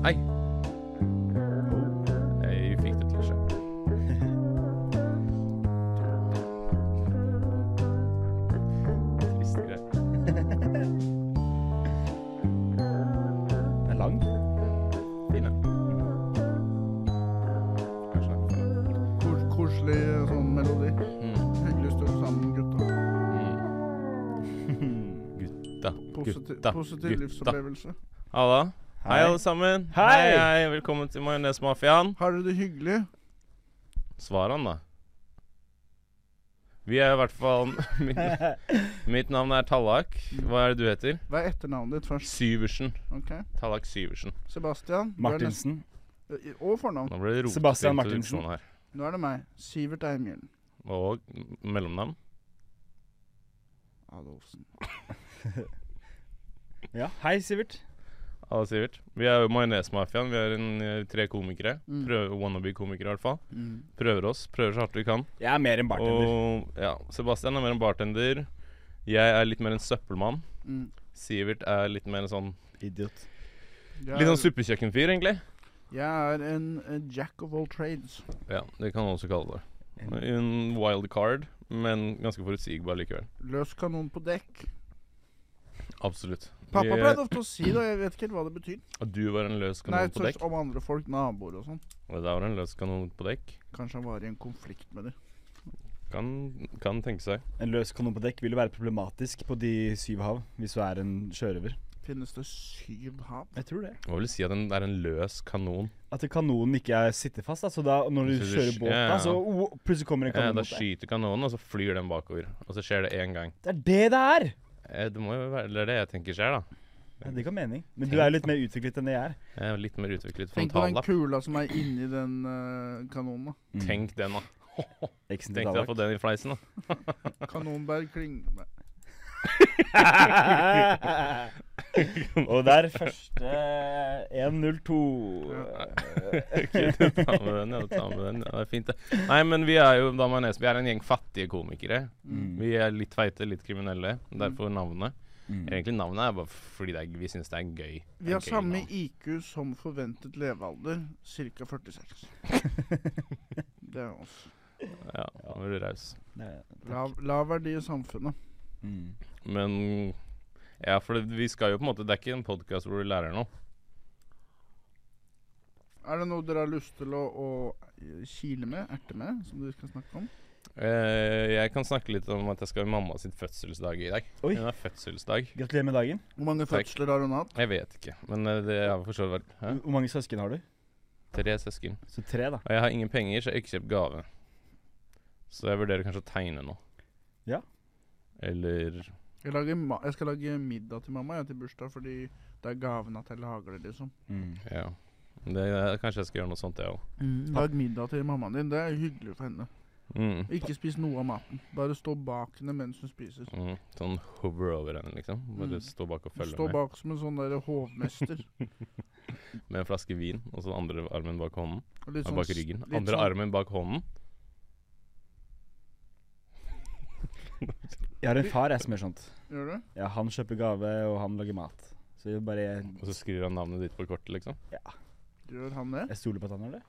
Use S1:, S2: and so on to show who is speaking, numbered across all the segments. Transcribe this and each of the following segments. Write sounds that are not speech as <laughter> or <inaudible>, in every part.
S1: Hei. Jeg fikk det til seg. Trist greie. Den er lang. Fin, den. Kanskje den er for lang.
S2: Kos- Koselig sånn melodi. Hyggelig å stå sammen, gutta.
S1: Gutta,
S2: Positiv,
S1: gutta,
S2: positiv
S1: gutta.
S2: livsopplevelse.
S1: Halla. Hei, alle sammen. Hei, hei. Velkommen til Majonesmafiaen.
S2: Har dere det hyggelig?
S1: Svar han, da. Vi er i hvert fall <laughs> Mitt, mitt navn er Tallak. Hva er det du heter?
S2: Hva er etternavnet ditt først?
S1: Syversen.
S2: Ok.
S1: Tallak Syversen.
S2: Sebastian. du er nest- Eh,
S3: Martinsen.
S2: Og fornavn.
S1: Nå ble det rotet
S3: Sebastian
S1: til
S3: Martinsen.
S1: introduksjonen her.
S2: Nå er det meg. Sivert Eimjølen.
S1: Og m- mellomnavn.
S2: Adolfsen.
S3: Ja, hei, Sivert.
S1: Alle Sivert. Vi er jo Majonesmafiaen. Vi er en, eh, tre komikere.
S2: Mm.
S1: Prøv, wannabe-komikere, i hvert fall.
S2: Mm.
S1: Prøver oss. Prøver så hardt vi kan.
S3: Jeg er mer enn bartender.
S1: Og ja, Sebastian er mer en bartender. Jeg er litt mer en søppelmann.
S2: Mm.
S1: Sivert er litt mer en sånn
S3: Idiot.
S2: Jeg,
S1: Litt sånn
S2: er,
S1: suppekjøkkenfyr, egentlig.
S2: jeg er en, en jack of all trades.
S1: Ja, det kan man også kalle det. En wild card, men ganske forutsigbar likevel.
S2: Løs kanon på dekk.
S1: Absolutt.
S2: Pappa
S1: Vi-
S2: pleide ofte å si det, og jeg vet ikke helt hva det betyr.
S1: At du var en løs
S2: Nei,
S1: kanon på
S2: sånn
S1: dekk.
S2: om andre folk, naboer og sånn.
S1: Og der var en løs kanon på dekk.
S2: Kanskje han var i en konflikt med dem.
S1: Kan, kan tenke seg.
S3: En løs kanon på dekk vil jo være problematisk på de syv hav hvis du er en sjørøver.
S2: Finnes det syv hav?
S3: Jeg tror det.
S1: Hva vil du si at den er en løs kanon?
S3: At kanonen ikke er sitter fast. Da. Så da, når du
S1: Så du
S3: kjører
S1: sk-
S3: båt,
S1: ja, ja.
S3: da, så oh, plutselig kommer
S1: Ja,
S3: en
S1: Eh,
S3: kanon
S1: da
S3: mot deg.
S1: skyter kanonen, og så flyr den bakover. Og så skjer det én gang.
S3: Det er det det er!
S1: Eh, Det må jo være det, er det jeg tenker skjer, da.
S3: Ja, det ga mening. Men du er jo litt mer utviklet enn det jeg er.
S1: Jeg er jo litt mer utviklet
S2: Tenk på den
S1: frontallapp.
S2: kula som er inni den eh, kanonen. da.
S3: Mm.
S1: Tenk den, da.
S3: Eksen til
S1: Tenk deg å
S3: Tallak.
S1: få den i fleisen, da.
S2: Kanonberg kling... Nei.
S3: <laughs> Og der første 1.02.
S1: Ok, du tar med den, ja. du tar med den. Ja, det er fint, det. Nei, men vi er jo da majones. Vi er en gjeng fattige komikere.
S3: Mm.
S1: Vi er litt feite, litt kriminelle. Derfor navnet.
S3: Mm.
S1: Egentlig navnet er bare fordi det er, vi syns det er gøy.
S2: Vi har
S1: Gøy
S2: samme
S1: navn.
S2: IQ som forventet levealder, ca.
S1: <laughs>
S2: 46. Det er oss.
S1: Ja, da var du raus.
S3: Nei,
S2: Lav, lav verdi i samfunnet.
S3: Mm.
S1: Men Ja, for det, vi skal jo på en måte Det er ikke en podkast hvor du lærer noe.
S2: Er det noe dere har lyst til å, å eh, kile med, erte med, som dere skal snakke om?
S1: Eh, jeg kan snakke litt om at jeg skal i mamma sitt fødselsdag i dag.
S3: Oi.
S1: Hun har fødselsdag.
S3: Gratulerer med dagen.
S2: Hvor mange
S1: Takk.
S2: fødsler har hun hatt?
S1: Jeg vet ikke, men eh, det har for så vidt vært Hæ?
S3: Hvor mange søsken har du?
S1: Tre søsken.
S3: Så tre, da.
S1: Og jeg har ingen penger, så jeg har ikke kjøpt gave. Så jeg vurderer kanskje å tegne noe.
S3: Ja.
S1: Eller
S2: Jeg, lager ma jeg skal lage middag til mamma jeg, til bursdag, fordi det er gaven at jeg lager det, liksom.
S3: Mm.
S1: Ja. Det, er- kanskje jeg skal gjøre noe sånt, jeg òg.
S2: Lag middag til mammaen din. Det er hyggelig for henne.
S1: Mm.
S2: Ikke spis noe av maten. Bare stå bak henne mens hun spiser.
S1: Mm. Sånn hover over henne, liksom. Bare
S2: Mm.
S1: stå bak og følge
S2: Stå
S1: med.
S2: bak som en sånn der
S1: <laughs>
S2: hovmester.
S1: Med en flaske vin, og så andre armen bak hånden.
S2: Og Litt
S1: Nei, bak ryggen.
S2: litt
S1: Andre
S2: sånn-
S1: armen bak hånden.
S3: Jeg har en far jeg som gjør sånt.
S2: Gjør du?
S3: Ja, Han kjøper gave, og han lager mat. Så jeg bare
S1: Og så skriver han navnet ditt på kortet, liksom.
S2: Gjør han det?
S3: Jeg stoler på at han gjør det.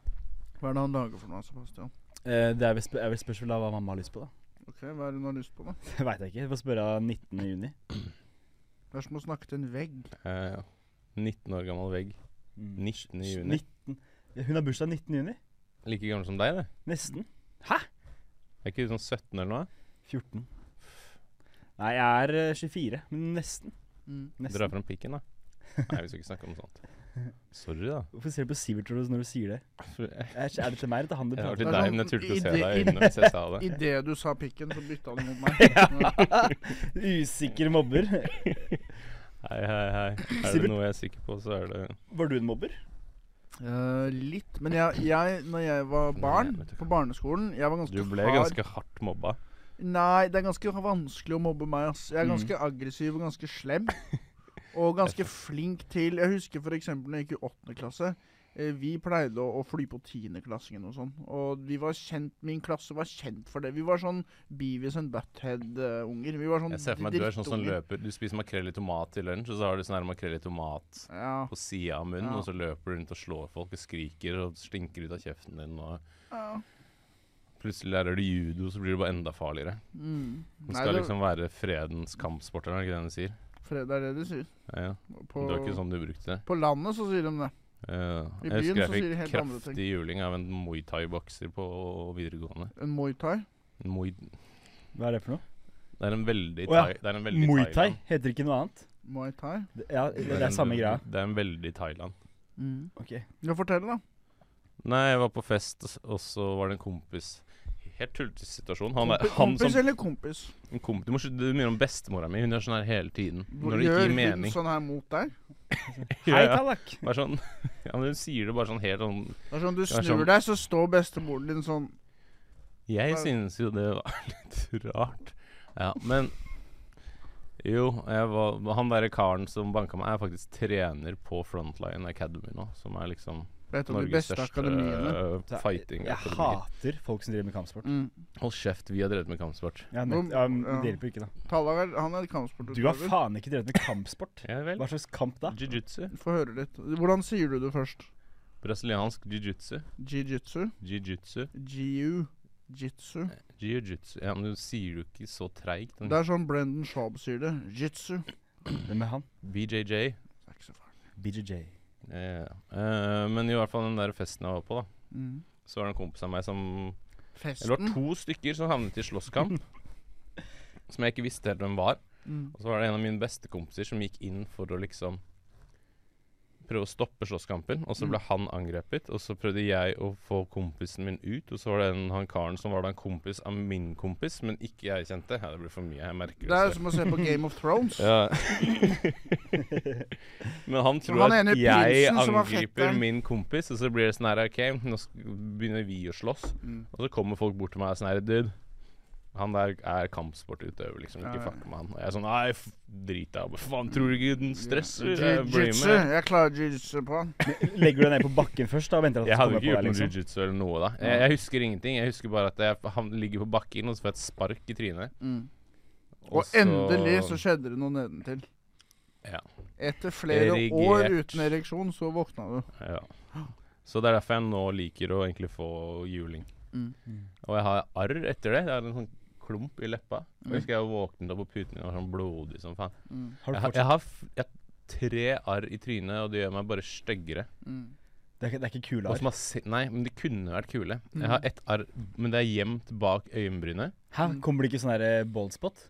S2: Hva er det han lager for noe, altså, Sebastian?
S3: Eh, det er vel, sp er vel spørsmål av hva mamma har lyst på, da.
S2: Ok, Hva er det hun har lyst på, da?
S3: <laughs> Det veit jeg ikke. Jeg får spørre av 19. juni.
S2: Det er som å snakke til en vegg.
S1: Eh, 19 år gammel vegg.
S3: Mm.
S1: 19. juni.
S3: 19. Hun har bursdag 19. juni.
S1: Like gammel som deg, det.
S3: Nesten.
S1: Er ikke du sånn 17 eller noe?
S3: 14. Nei, jeg er eh, 24, men nesten.
S2: Mm.
S1: Dra
S3: nesten.
S1: fram pikken, da. Nei, vi skal ikke snakke om sånt. Sorry, da.
S3: Hvorfor ser du på Sivert tror du, når du sier det?
S1: <laughs> For jeg-
S3: Er, er det til meg eller til han du
S1: Jeg var
S3: prater
S1: til
S2: Det er
S1: deg,
S2: sånn
S1: men jeg turte ikke å se
S2: ide-
S1: deg i øynene hvis jeg sa det.
S2: Idet du
S1: <laughs>
S3: <laughs>
S2: sa pikken, så bytta han mot meg. Ja.
S3: Usikker mobber.
S1: Hei, hei, hei. Er
S3: Sivert?
S1: det noe jeg er sikker på, så er det
S3: Var du en mobber?
S2: Eh, litt. Men jeg, jeg, når jeg var barn
S1: vet du.
S2: på barneskolen Jeg var ganske
S1: Du ble
S2: hard.
S1: ganske hardt mobba.
S2: Nei, det er ganske vanskelig å mobbe meg, ass. Jeg er ganske
S1: Mm.
S2: aggressiv og ganske
S1: <laughs>
S2: slem. Og ganske flink til Jeg husker f.eks. når jeg gikk i åttende klasse. eh, Vi pleide å, å fly på tiendeklassingen og sånn. Og vi var kjent, min klasse var kjent for det. Vi var sånn Beavis and Butthead-unger. Vi var sånn
S1: Jeg ser for meg at du er sånn som
S2: drittunger.
S1: løper Du spiser makrell i tomat til lunsj, og så har du sånn her makrell i tomat
S2: Ja.
S1: på sida av munnen,
S2: Ja.
S1: og så løper du rundt og slår folk og skriker og stinker ut av kjeften din, og plutselig lærer du judo, så blir du bare enda farligere.
S2: Mm.
S1: Du
S2: Nei,
S1: skal
S2: det,
S1: liksom være fredens kampsport, er det ikke det de sier?
S2: Fred er det de sier.
S1: Ja, ja.
S2: På,
S1: Det var ikke sånn du brukte det.
S2: på landet så sier de det.
S1: Ja.
S2: I
S1: Jeg
S2: byen
S1: husker
S2: så sier de
S1: jeg fikk
S2: helt andre ting.
S1: kraftig juling av en Muay Thai-bokser på videregående.
S2: En Muay Thai.
S1: En Muay,
S3: Hva er det for noe?
S1: det er en veldig
S3: Å ja.
S1: thai, det er en veldig
S3: Muay Thai?
S1: Thailand.
S3: Heter ikke noe annet?
S2: Muay Thai.
S3: Det, ja, det, det er
S1: en-
S3: samme greia.
S1: Det er en veldig Thailand.
S2: Mm.
S3: Ok.
S2: Ja, fortell, da.
S1: Nei, jeg var på fest, og s- og så var det en kompis Helt tullete situasjon. Han, er,
S2: Kompi-
S1: han som
S2: kompis eller kompis?
S1: en komp, Du må slutte du minner om bestemora mi. Hun er sånn her hele tiden. Når det ikke
S2: Gjør
S1: gir
S2: hun
S1: mening.
S2: sånn her mot deg?
S3: Hei,
S1: <laughs> Ja, ja.
S3: Tallak.
S1: Bare sånn <laughs> Ja, men Hun sier det bare sånn helt sånn
S2: Det er sånn du
S1: Det er
S2: snur
S1: sånn-
S2: deg, så står bestemoren din sånn
S1: Jeg
S2: Bare-
S1: synes jo det var <laughs> litt rart. Ja, men Jo, jeg var, han derre karen som banka meg, er faktisk trener på Frontline Academy nå. Som er liksom
S2: på et av de
S1: Norges
S2: beste
S1: største
S2: akademiene.
S1: øh, fighting
S3: Jeg
S1: akademi.
S3: hater folk som driver med kampsport.
S2: Mm.
S1: Hold kjeft, vi har drevet med kampsport.
S3: Ja, nett, ja, men
S2: Ja.
S3: Det hjelper jo ikke, da.
S2: Tallag er, han er kampsportutøver.
S3: Du har faen ikke drevet med kampsport.
S1: Ja vel.
S3: Hva slags kamp da?
S1: Jiu-jitsu.
S2: Få høre litt. Hvordan sier du det først?
S1: Brasiliansk jiu-jitsu.
S2: Jiu-jitsu?
S1: Jiu-jitsu.
S2: Jiu? Jitsu?
S1: Mm. Jiu-jitsu. Ja, men du sier jo ikke så treigt.
S2: Det er sånn Brendan Schaub sier det. Jitsu. Det
S3: Hvem er han?
S1: BJJ.
S2: er ikke så farlig.
S3: BJJ.
S1: Eh, eh, men i hvert fall den der festen jeg var på, da.
S2: Mm.
S1: Så var det en kompis av meg som Eller det
S2: Festen?
S1: var to stykker som havnet i slåsskamp.
S2: <laughs>
S1: som jeg ikke visste helt hvem var.
S2: Mm.
S1: Og så var det en av mine bestekompiser som gikk inn for å liksom prøve å stoppe slåsskampen,
S2: Mm.
S1: og så ble han angrepet. Og så prøvde jeg å få kompisen min ut, og så var det en, han karen som var da en kompis av min kompis, men ikke jeg kjente. Ja, det blir for mye, jeg merker
S2: Det er
S1: selv.
S2: som å se på Game of Thrones.
S1: Ja. <laughs> men han tror
S2: han ene
S1: at jeg
S2: prinsen som var
S1: angriper
S2: fetteren.
S1: min kompis, og så blir det sånn her OK, nå sk- begynner vi å slåss.
S2: Mm.
S1: Og så kommer folk bort til meg og sånn her Dude, han der er kampsportutøver, liksom.
S2: Ja,
S1: Ikke
S2: ja.
S1: fuck med han. Og jeg er sånn Nei, f drit deg Hva faen tror du ikke den stresser? Jeg blir
S2: Jiu-jitsu.
S1: med.
S2: Jeg klarer jiu-jitsu på han.
S3: Legger du deg ned på bakken først da, og venter at
S1: Jeg
S3: han
S1: hadde
S3: kommer
S1: ikke
S3: på deg?
S1: gjort noe
S3: liksom?
S1: jiu-jitsu eller noe da. Jeg, jeg husker ingenting. Jeg husker bare at jeg han ligger på bakken, og så får jeg et spark i trynet.
S2: Mm. Og endelig så skjedde det noe nedentil.
S1: Ja.
S2: Etter flere
S1: Erigert.
S2: år uten ereksjon, så våkna du.
S1: ja. Så det er derfor jeg nå liker å egentlig få juling.
S2: Mm.
S1: Og jeg har arr etter det. Jeg har en sånn klump i leppa.
S2: Mm.
S1: Jeg husker jeg våknet opp, og puten min var sånn blodig som faen.
S2: Mm.
S3: Har du
S1: Jeg, har-
S3: fortsatt?
S1: jeg har f jeg har tre arr i trynet, og det gjør meg bare styggere.
S2: Mm.
S3: Det er ikke, det er ikke
S1: Og
S3: kule
S1: som
S3: arr.
S1: har se- Nei, men de kunne vært kule. Jeg
S3: Mm.
S1: har ett arr, men det er gjemt bak øyenbrynet.
S3: Hæ? Kommer det ikke sånn der boldspot?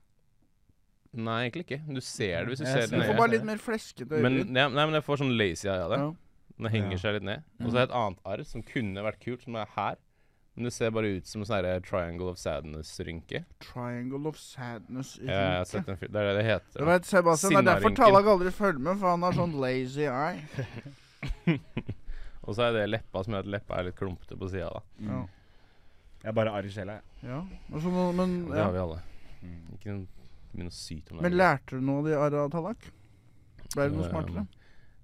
S1: Nei, egentlig ikke. Du ser det hvis du
S3: Jeg
S1: ser
S3: ser
S1: det
S2: Du
S3: Nei,
S2: får
S1: nøye.
S2: bare litt mer fleskete
S1: Men,
S2: øyne.
S1: nei, nei, men jeg får sånn lazy eye av det.
S2: Ja. Mm.
S1: Den henger
S3: Ja.
S1: seg litt ned. Og så har jeg et annet arr som kunne vært kult, som er her. Men det ser bare ut som en sånn her Triangle of Sadness-rynke.
S2: Triangle of sadness. i
S1: Jeg har
S2: rynke.
S1: sett den fil- Det er det det
S2: Du
S1: heter. da.
S2: vet, Sebastian, Det er derfor
S1: Sinnarynken.
S2: Tallag aldri følger med, for han har sånn lazy eye.
S1: Og så er det leppa som gjør at leppa er litt klumpete på sida, da.
S2: Ja.
S3: Jeg har bare arr i sjela, jeg.
S2: ja. Og så nå- men,
S1: Og Det
S2: ja.
S1: har
S2: Mm.
S1: vi alle. Ikke noe- ikke begynn å syte om
S2: men
S1: det.
S2: lærte du noe av de arra, Tallak? Ble du noe
S1: Um,
S2: smartere?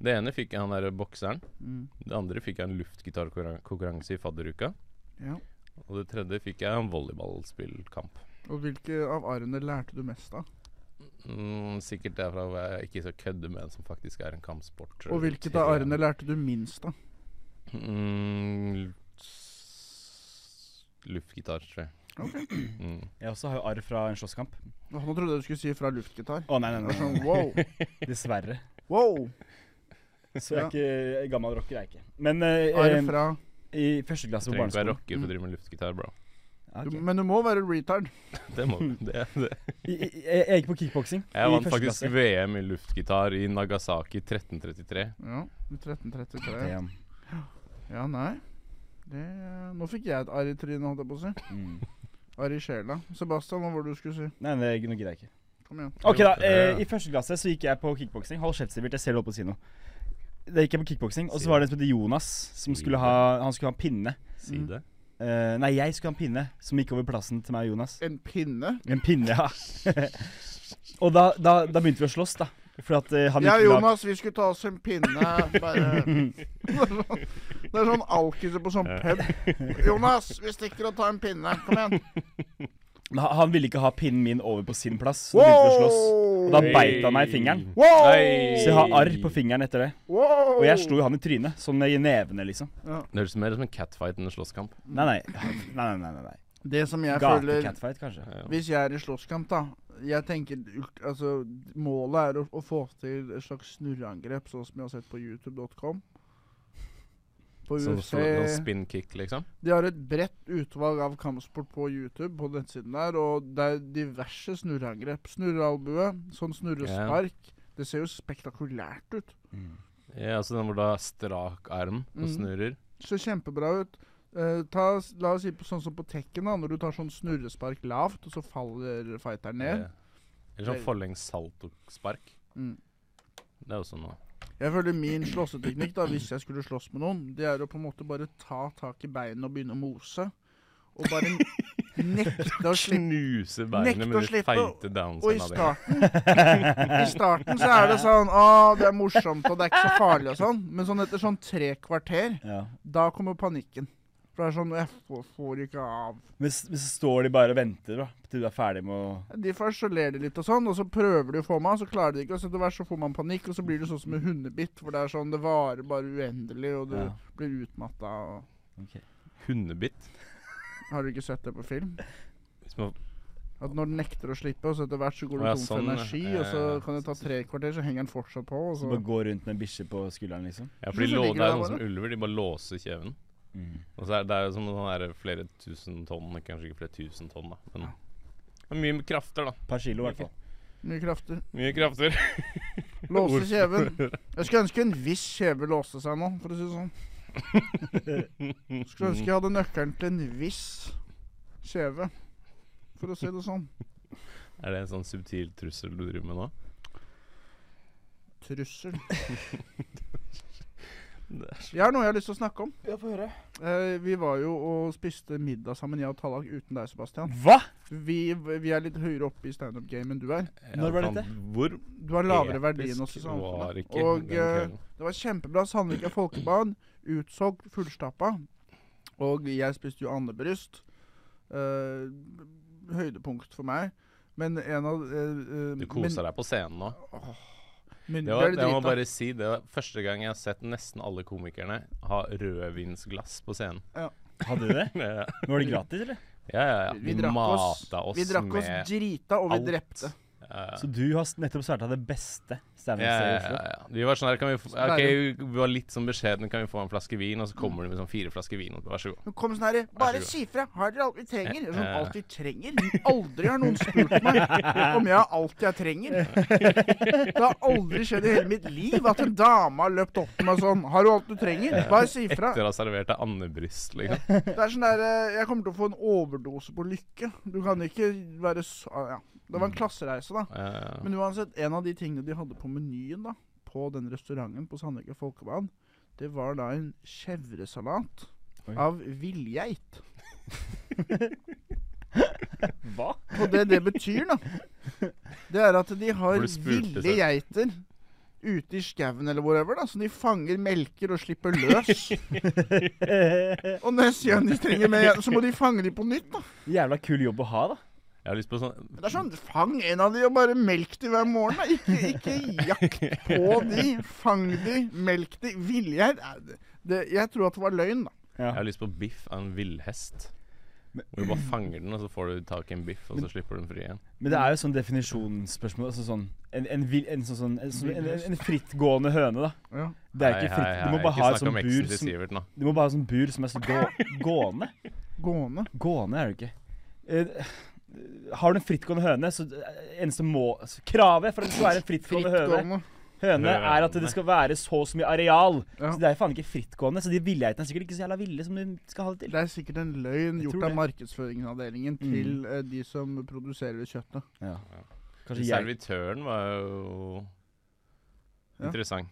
S1: Det ene fikk jeg han der bokseren.
S2: Mm.
S1: Det andre fikk jeg en luftgitarkonkurranse i fadderuka.
S2: Ja.
S1: Og det tredje fikk jeg en volleyballspillkamp.
S2: Og hvilke av arrene lærte du mest av?
S1: Mm, sikkert derfra hvor jeg ikke skal kødde med en som faktisk er en kampsport.
S2: Og hvilket av arrene lærte du minst av?
S1: Mm, s- luftgitar, tror jeg. Mm.
S3: Jeg også har jo arr fra en slåsskamp.
S2: Åh, Nå trodde jeg du skulle si fra luftgitar.
S3: Å nei, nei,
S2: Det
S1: <laughs>
S2: var <laughs>
S3: nei, nei,
S2: Sånn, wow,
S3: nei. Dessverre.
S2: wow.
S3: Så jeg
S2: Ja.
S3: er ikke eh, gammel rocker, jeg er ikke. Men eh,
S2: Arr
S3: eh,
S2: fra
S3: i første klasse på
S1: Trenger ikke være
S3: barneskolen
S1: rocker for å drive med luftgitar, bro.
S3: Ja,
S2: du,
S3: ok.
S2: Men du må være retard.
S1: Det må du. <laughs> Det, det.
S3: I- i- jeg, jeg gikk på kickboksing
S1: Jeg
S3: i
S1: vant
S3: første
S1: faktisk
S3: klasse.
S1: VM i luftgitar i Nagasaki 1333.
S2: Ja, i 1333.
S3: Damn.
S2: Ja, nei. Det, nå fikk jeg et arr i trynet, holdt jeg på å si.
S3: Mm.
S2: Arr i sjela. Sebastian, hva var det du skulle si?
S3: Nei, det, nå gidder jeg ikke.
S2: Kom igjen.
S3: Ok da, eh, I første klasse så gikk jeg på kickboksing. Hold kjeft, Sivert. Jeg ser du holder på å si noe. Da gikk jeg på kickboksing, og så var det en som het Jonas, som skulle ha, han skulle ha en pinne.
S1: Si det.
S3: Eh, nei, jeg skulle ha en pinne som gikk over plassen til meg og Jonas.
S2: En pinne?
S3: En pinne, ja. <laughs> og da, da, da begynte vi å slåss, da. For at eh, han
S2: Ja,
S3: gikk bra-
S2: Jonas, vi skulle ta oss en pinne. Bare Det er sånn alkiser på sånn pub. Jonas, vi stikker og tar en pinne. Kom igjen.
S3: Men han- Han ville ikke ha pinnen min over på sin plass, så da begynte vi å slåss. Og da beit han meg i fingeren.
S2: Wow!
S1: Nei.
S3: Så jeg har arr på fingeren etter det.
S2: Wow!
S3: Og jeg slo jo han i trynet, sånn i nevene, liksom.
S1: Det høres mer ut som en catfight enn en slåsskamp.
S3: Nei, nei. nei, nei, nei, nei.
S2: Det som jeg føler
S3: Gate-catfight, kanskje.
S2: Hvis jeg er i slåsskamp, da Jeg tenker ult- Altså, målet er å, å få til et slags snurreangrep, sånn som jeg har sett på youtube.com. På
S1: Sånn
S2: UFC
S1: sånn spin kick, liksom.
S2: De har et bredt utvalg av kampsport på YouTube, på nettsiden der, og det er diverse snurreangrep. Snurrealbue, sånn snurrespark. Det ser jo spektakulært ut.
S1: Ja, altså den hvor du har strak arm og
S2: Mm.
S1: snurrer.
S2: ser kjempebra ut. Eh, ta, la oss si på, sånn som på tekken, da, når du tar sånn snurrespark lavt, og så faller fighteren ned.
S1: Ja. Eh, Eller sånn forlengs saltospark.
S2: Mm.
S1: Det er også noe.
S2: Jeg føler min slåsseteknikk, da, hvis jeg skulle slåss med noen, det er å på en måte bare ta tak i beinet og begynne å mose. Og bare nekte å slippe.
S1: Knuse beinet
S2: Nekte
S1: med
S2: å
S1: de
S2: slippe,
S1: feite
S2: Og i
S1: downsene dine.
S2: starten, i
S1: <laughs>
S2: starten så er det sånn Å, det er morsomt, og det er ikke så farlig og sånn. Men sånn etter sånn tre kvarter,
S3: Ja.
S2: da kommer panikken. For det er sånn Jeg får, får ikke av.
S3: Men s- men så står de bare og venter, da, til du er ferdig med å
S2: De først så ler de litt og sånn, og så prøver de å få meg, og så klarer de ikke. Og så etter hvert så får man panikk, og så blir det sånn som en hundebitt, hvor det er sånn Det varer bare uendelig, og du
S3: Ja.
S2: blir utmatta og
S1: Hundebitt.
S2: Har du ikke sett det på film?
S1: Hvis man
S2: At når den nekter å slippe, og så etter hvert så går
S1: Å,
S2: du
S1: ja,
S2: tom for
S1: sånn, ja.
S2: energi,
S1: Ja, ja,
S2: og så
S1: ja.
S2: kan det ta tre kvarter, så henger den fortsatt på. Og så
S3: bare gå rundt med en bikkje på skulderen, liksom.
S1: Ja, for de
S2: Hvorfor
S1: lå,
S2: ligger
S1: det er
S2: det
S1: sånn
S2: der
S1: som ulver, de bare låser kjeven.
S2: Mm.
S1: Og så er det, det er jo som sånn der flere tusen tonn, kanskje ikke flere tusen tonn, da. Men det er mye krafter, da.
S3: Et par kilo, i hvert fall.
S2: mye krafter.
S1: Mye krafter. <laughs>
S2: Låse kjeven. Jeg skulle ønske en viss kjeve låste seg nå, for å si det sånn. Skulle ønske jeg hadde nøkkelen til en viss kjeve, for å si det sånn.
S1: Er det en sånn subtil trussel du driver med nå?
S2: Trussel. Jeg har noe jeg har lyst til å snakke om. Ja, få høre. Eh, vi var jo og spiste middag sammen, jeg og Tallak, uten deg, Sebastian.
S3: Hva?!
S2: Vi, vi er litt høyere oppe i standup-game enn du er.
S3: Når var
S1: Ja,
S3: dette?
S1: faen, Hvor
S2: Du har lavere verdi enn oss
S1: episk
S2: i samfunnet.
S1: var ikke
S2: Og,
S1: den
S2: eh,
S1: kvelden?
S2: Det var kjempebra. Sandvika folkebad. Utsolgt, fullstappa. Og jeg spiste jo andebryst. Eh, høydepunkt for meg. Men en av eh, eh,
S1: Du koser deg på scenen nå.
S2: Men, men,
S1: Det var,
S2: det
S1: det må jeg
S2: drita.
S1: bare si, det var første gang jeg har sett nesten alle komikerne ha rødvinsglass på
S2: <laughs>
S1: scenen.
S3: Hadde du
S1: <laughs>
S3: det?
S1: Ja,
S3: Var det gratis, eller?
S1: ja, ja.
S2: Vi
S1: De
S2: drakk oss,
S1: mata oss,
S2: vi drakk oss
S1: med
S2: drita, og vi
S1: alt.
S2: drepte.
S1: ja,
S3: Så du har s- nettopp starta det beste
S1: ja, ja,
S3: standup-stedet i
S1: ja,
S3: Oslo?
S1: ja. Vi var sånn her, kan vi få,
S2: Så
S1: ok,
S2: deilig.
S1: vi var litt sånn beskjedne, kan vi få en flaske vin? Og så kommer de med sånn fire flasker vin, og så, vær så god.
S2: Hun kom sånn herre Bare
S1: god.
S2: si fra! Har dere alt vi trenger? Jeg er Sånn
S1: Eh, eh.
S2: alt vi trenger? Aldri har noen spurt meg om jeg har alt jeg trenger. Det har aldri skjedd i hele mitt liv at en dame har løpt opp til meg sånn Har du alt du trenger? Bare si fra.
S1: Etter å ha servert deg andebryst, liksom.
S2: Det er sånn der eh, Jeg kommer til å få en overdose på lykke. Du kan ikke være så ah, Ja. Det
S1: Mm.
S2: var en klassereise, da.
S1: Ja,
S2: Men uansett, en av de tingene de hadde på menyen da, på den restauranten på Sandvika Folkebanen, det var da en chèvresalat
S3: Oi.
S2: av villgeit.
S3: Hva?
S2: Og det det betyr, da, det er at de
S1: For
S2: har
S1: du spurte
S2: ville
S1: selv.
S2: geiter ute i skauen eller whatever, da, som de fanger, melker og slipper løs. og neste gang de trenger mer, geit, så må de fange de på nytt, da.
S3: Jævla kul jobb å ha, da.
S1: Jeg har lyst på sånn
S2: Men det er sånn, fang en av de og bare melk de hver morgen, da. Ikke, ikke jakt på de, fang de, melk de. Vilje her er det- det- Jeg tror at det var løgn, da.
S3: Ja.
S1: Jeg har lyst på biff av en villhest. Hvor du bare fanger den, og så får du tak i en biff, og så slipper du den fri igjen.
S3: Men det er
S1: Mm.
S3: jo sånn definisjonsspørsmål. Altså sånn, en, en, vil- en, sånn, sånn, en, sånn- en, en frittgående høne, da.
S2: Ja.
S3: Det er ikke
S1: Hei, hei,
S3: fritt. Du må
S1: hei, ikke
S3: bare ha et
S1: snakk
S3: sånt
S1: om eksen
S3: bur
S1: til
S3: som,
S1: Sivert nå.
S3: du må bare ha sånn bur som er så gå, gående.
S2: Gående.
S3: Gående er det ikke. Eh, har du en frittgående høne, så eh, eneste må så Kravet for at det skal være en frittgående høne,
S2: Frittgående.
S3: høne er at det skal være så og så mye areal.
S2: Ja.
S3: Så det er jo faen ikke frittgående. Så de villgeitene er sikkert ikke så jævla ville som du skal ha det
S2: Det
S3: til.
S2: er sikkert en løgn
S3: Jeg
S2: gjort
S3: tror
S2: av
S3: det. Mm.
S2: markedsføringsavdelingen til eh, de som produserer kjøttet.
S3: Kanskje Altså, jeg
S1: Servitøren var jo
S2: Ja.
S1: interessant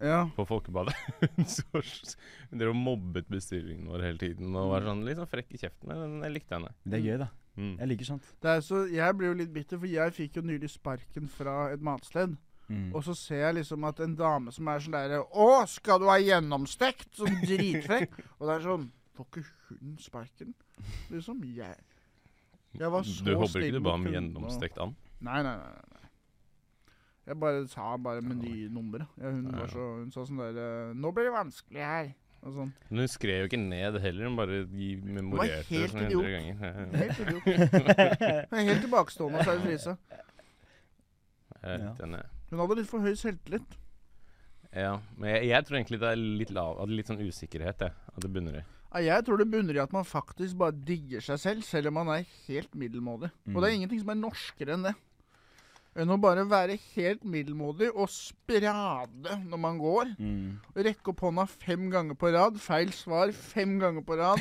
S2: Ja.
S1: på Folkebadet. <laughs> Hun så- Hun drev og mobbet bestillingen vår hele tiden og var sånn litt sånn frekk i kjeften, men jeg likte henne.
S3: Det er gøy, da.
S1: Mm.
S3: Jeg liker sånt.
S2: Det er så, jeg blir jo litt bitter, for jeg fikk jo nylig sparken fra et matsted.
S3: Mm.
S2: Og så ser jeg liksom at en dame som er sånn der Å, skal du ha gjennomstekt?
S1: <laughs>
S2: Sånn dritfrekk. og det er sånn Får ikke hun sparken? Liksom, jeg Jeg var så
S1: Du håper
S2: snill
S1: ikke du
S2: mot
S1: ba om
S2: kunden og-
S1: gjennomstekt and?
S2: Nei, nei, nei. nei, nei. Jeg bare sa bare menynummeret. Ja, hun, var så, hun sa sånn der Nå blir det vanskelig her. Og sånn.
S1: Men hun skrev jo ikke ned heller, hun bare gi- memorerte det
S2: helt
S1: sånn
S2: idiot.
S1: hundre ganger. Jeg-
S2: Helt idiot.
S3: Mm.
S2: <laughs> Hun er Helt
S1: <laughs>
S2: tilbakestående, sa Elise.
S1: jeg er
S3: Ja.
S1: litt enig.
S2: Hun hadde litt for høy selvtillit.
S1: Ja, men jeg, jeg tror egentlig det er litt lav, at litt sånn usikkerhet, jeg. At det bunner i.
S2: Ja, Jeg tror det bunner i at man faktisk bare digger seg selv, selv om man er helt middelmådig. Og det er ingenting som er norskere enn det. Enn å bare være helt middelmådig og sprade når man går.
S3: Mm.
S2: Rekke opp hånda fem ganger på rad. Feil svar fem ganger på rad.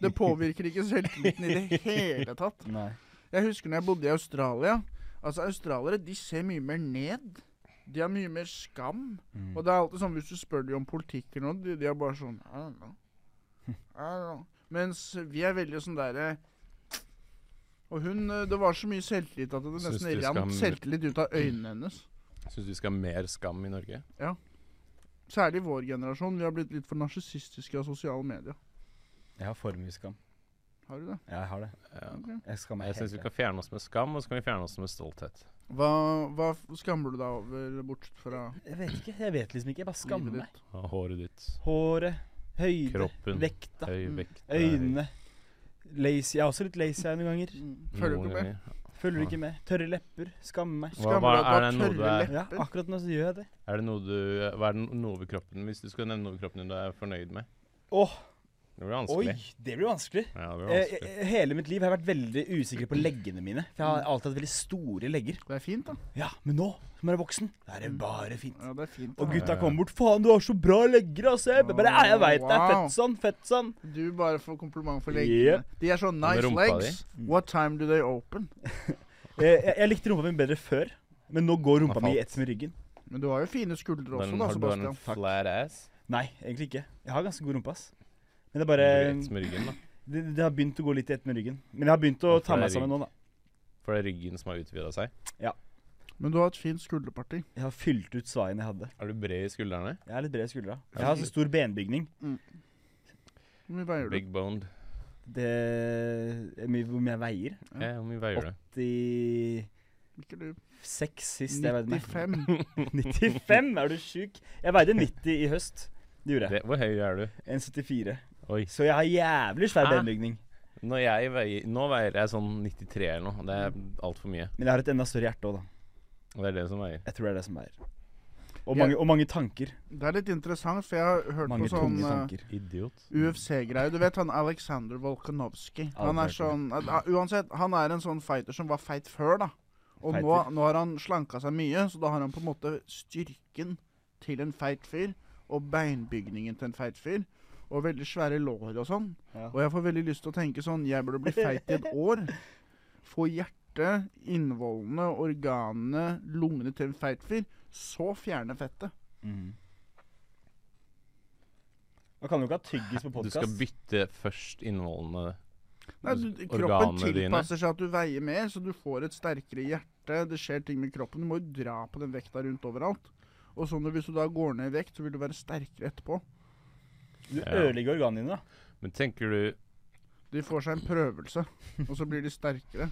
S2: Det påvirker ikke selvtilliten i det hele tatt.
S3: Nei.
S2: Jeg husker når jeg bodde i Australia. Altså, australiere de ser mye mer ned. De har mye mer skam.
S1: Mm.
S2: Og det er alltid sånn hvis du spør dem om politikk eller noe, de, de er bare sånn I don't know. I don't know. Mens vi er veldig sånn derre Og hun eh, Det var så mye selvtillit at det
S1: Syns
S2: nesten
S1: du skam-
S2: rant selvtillit ut av øynene hennes.
S1: Syns du vi skal ha mer skam i Norge?
S2: Særlig vår generasjon. Vi har blitt litt for narsissistiske av sosiale medier.
S3: Jeg har for mye skam.
S2: Har du det?
S3: Jeg har det.
S1: Ja.
S3: Jeg skammer
S1: Jeg
S3: meg
S1: syns vi
S3: helt.
S1: kan fjerne oss med skam, og så kan vi fjerne oss med stolthet.
S2: Hva, hva f- skammer du deg over, bortsett fra
S3: Jeg vet ikke. Jeg vet liksom ikke. Jeg bare skammer
S2: livet
S3: meg.
S2: ditt?
S1: Og håret ditt,
S3: Håret, høyde,
S1: Kroppen.
S3: vekta,
S1: høy
S2: Mm.
S1: vekt er-
S3: øynene. Lazy. Jeg er også litt lazy her noen ganger.
S2: Mm. Følger du
S1: Noen
S2: ikke med?
S1: ganger.
S3: Følger ikke med. Tørre lepper. Skammer meg.
S1: Hva-
S2: Skammer
S1: hva-
S2: deg over
S1: er det noe du
S2: tørre
S1: er-
S2: lepper?
S3: Ja, akkurat nå så gjør jeg det.
S1: Er det noe du Hva er det no- noe ved kroppen Hvis du skal nevne noe ved kroppen du er fornøyd med?
S3: Åh,
S1: Det blir
S3: oi,
S1: vanskelig.
S3: det blir vanskelig.
S1: Ja, det blir
S3: Eh,
S1: vanskelig.
S3: eh, hele mitt liv har jeg vært veldig usikker på leggene mine. For jeg har alltid hatt veldig store legger.
S2: Det er fint, da.
S3: Ja, men nå som jeg er voksen, da er det bare fint.
S2: Ja, det er fint.
S3: Og
S2: da.
S3: gutta kommer bort. 'Faen, du har så bra legger', ass. Jeg bare, ja, jeg veit det. er
S2: Wow.
S3: Fett sånn, fett sånn.
S2: Du bare får kompliment for leggene.
S3: Yep.
S2: De er sånn
S1: Med
S2: nice
S1: rumpa Mm.
S2: legs. What time do they open?
S3: Eh, jeg, jeg likte rumpa mi bedre før, men nå går rumpa
S1: Har
S3: mi i
S1: falt.
S3: ett med ryggen.
S2: Men du har jo fine skuldre også,
S1: Den,
S2: da,
S1: har du bare en
S2: Sebastian.
S1: flat ass?
S3: Nei, egentlig ikke. Jeg har ganske god rumpe, ass. Men det er
S1: Du
S3: bare
S1: blir rett med ryggen, da.
S3: det, det har begynt å gå litt i ett med ryggen. Men jeg har begynt å
S1: Hvorfor
S3: ta
S1: er
S3: meg
S1: rygg-
S3: sammen nå, da.
S1: For det er ryggen som har utvida seg.
S2: Men du har et fint skulderparti.
S3: Jeg har fylt ut svaien jeg hadde.
S1: Er du bred i skuldrene?
S3: Jeg er litt bred i skuldra. Jeg har så stor benbygning.
S2: Hvor mye veier du?
S1: Big boned.
S3: Det er mye hvor mye jeg veier.
S2: Ja.
S1: Ja, Eh, hvor mye veier du?
S3: 86
S2: Ikke du.
S3: sist jeg veide meg. <laughs>
S2: 95.
S3: 95? Er du sjuk? Jeg veide 90 i høst. Det gjorde jeg.
S1: Det, hvor høy er du?
S3: En 74.
S1: Oi.
S3: Så jeg har jævlig svær
S1: Hæ?
S3: benbygning.
S1: Når jeg veier, nå veier jeg sånn 93 eller noe. Det er altfor mye.
S3: Men jeg har et enda større hjerte òg, da.
S1: Og det er det som veier.
S3: Jeg tror det er det som veier.
S2: Jeg-
S3: Og mange, og mange tanker.
S2: Det er litt interessant, for jeg har hørt
S3: Mange
S2: på sånn
S3: tunge
S2: eh,
S3: tanker.
S1: Idiot.
S2: UFC-greie. Du vet han Aleksander Volkanovskij. Han er sånn
S3: Alexander.
S2: at- ah, Uansett, han er en sånn fighter som var feit før, da. Og nå,
S3: Fighter.
S2: nå har han slanka seg mye, så da har han på en måte styrken til en feit fyr. Og beinbygningen til en feit fyr. Og veldig svære lår og sånn.
S3: Ja.
S2: Og jeg får veldig lyst til å tenke sånn Jeg burde bli feit i et år. Få hjertet, innvollene, organene, lungene til en feit fyr. Så fjerne fettet.
S3: Mm. Man kan jo ikke ha tyggis på
S1: Du skal
S3: podkast.
S1: bytte først innholdene
S2: Nei, du, kroppen
S1: organene dine.
S2: tilpasser seg at du veier mer, så du får et sterkere hjerte. Det skjer ting med kroppen. Du må jo dra på den vekta rundt overalt. Og sånn at Hvis du da går ned i vekt, så vil du være sterkere etterpå.
S3: Du
S1: Ja.
S3: ødelegger organene dine, da.
S1: Men tenker du
S2: De får seg
S1: <laughs>
S2: en prøvelse, og så blir de sterkere.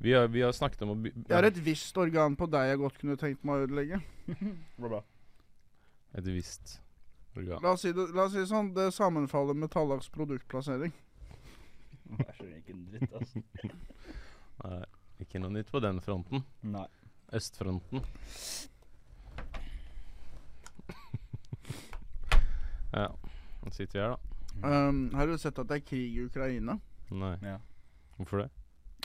S1: Vi har, vi har snakket om å by
S2: Jeg har et visst organ på deg jeg godt kunne tenkt meg å ødelegge.
S3: Det var bra.
S1: et visst organ.
S2: La oss si det, la oss si det sånn, det sammenfaller med Tallaks produktplassering.
S3: Jeg skjønner ikke en dritt, altså.
S1: Nei, ikke noe nytt på den fronten.
S3: Nei.
S1: Østfronten. <laughs> ja. Nå sitter vi her, da.
S2: Um, har du sett at det er krig i Ukraina?
S1: Nei.
S3: Ja.
S1: Hvorfor det?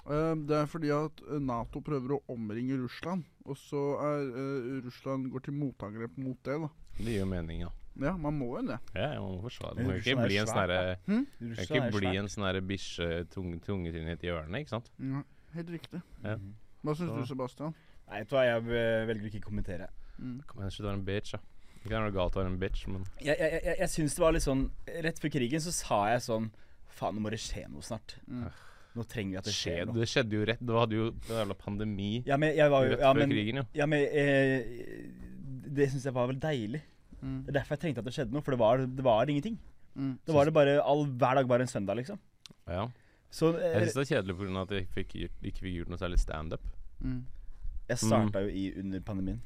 S2: Um, det er fordi at eh, Nato prøver å omringe Russland, og så er eh, Russland går til motangrep mot det. da.
S1: Det gir jo mening, da.
S2: Ja, man må jo det.
S1: Ja, jeg må forsvare det.
S3: Men
S1: Man kan ikke bli
S3: Russland er
S1: en sånn
S3: svært,
S1: herre
S3: Russland
S1: Jeg kan
S3: er
S1: ikke bli
S3: svært.
S1: en sånn her bikkje tung- tungetynnet i hjørnet, ikke sant?
S2: Ja, helt riktig.
S1: Ja.
S3: Mhm.
S2: Hva syns
S1: Så-
S2: du, Sebastian?
S3: Nei, vet du hva, jeg eh, velger å ikke kommentere.
S1: Kom igjen, slutt å være en bitch, da. Ikke er det noe galt å være en bitch, men
S3: Jeg, jeg, jeg, jeg syns det var litt sånn Rett før krigen så sa jeg sånn Faen, nå må det skje noe snart. Nå trenger vi at
S1: det
S3: det skjer
S1: skjedde,
S3: noe.
S1: det skjedde jo rett. Du hadde jo en jævla pandemi
S3: Ja, men jeg var jo
S1: rett
S3: ja,
S1: før
S3: men,
S1: krigen, jo.
S3: ja, men eh, Det syns jeg var vel deilig. Det er derfor jeg tenkte at det skjedde noe, for det var, det var ingenting.
S2: Mm.
S3: Det var det bare all, hver dag bare en søndag, liksom.
S1: Ja.
S3: Så eh,
S1: Jeg syns det er kjedelig pga. at jeg fikk, gjort- ikke fikk gjort noe særlig standup.
S3: jeg starta jo i under pandemien.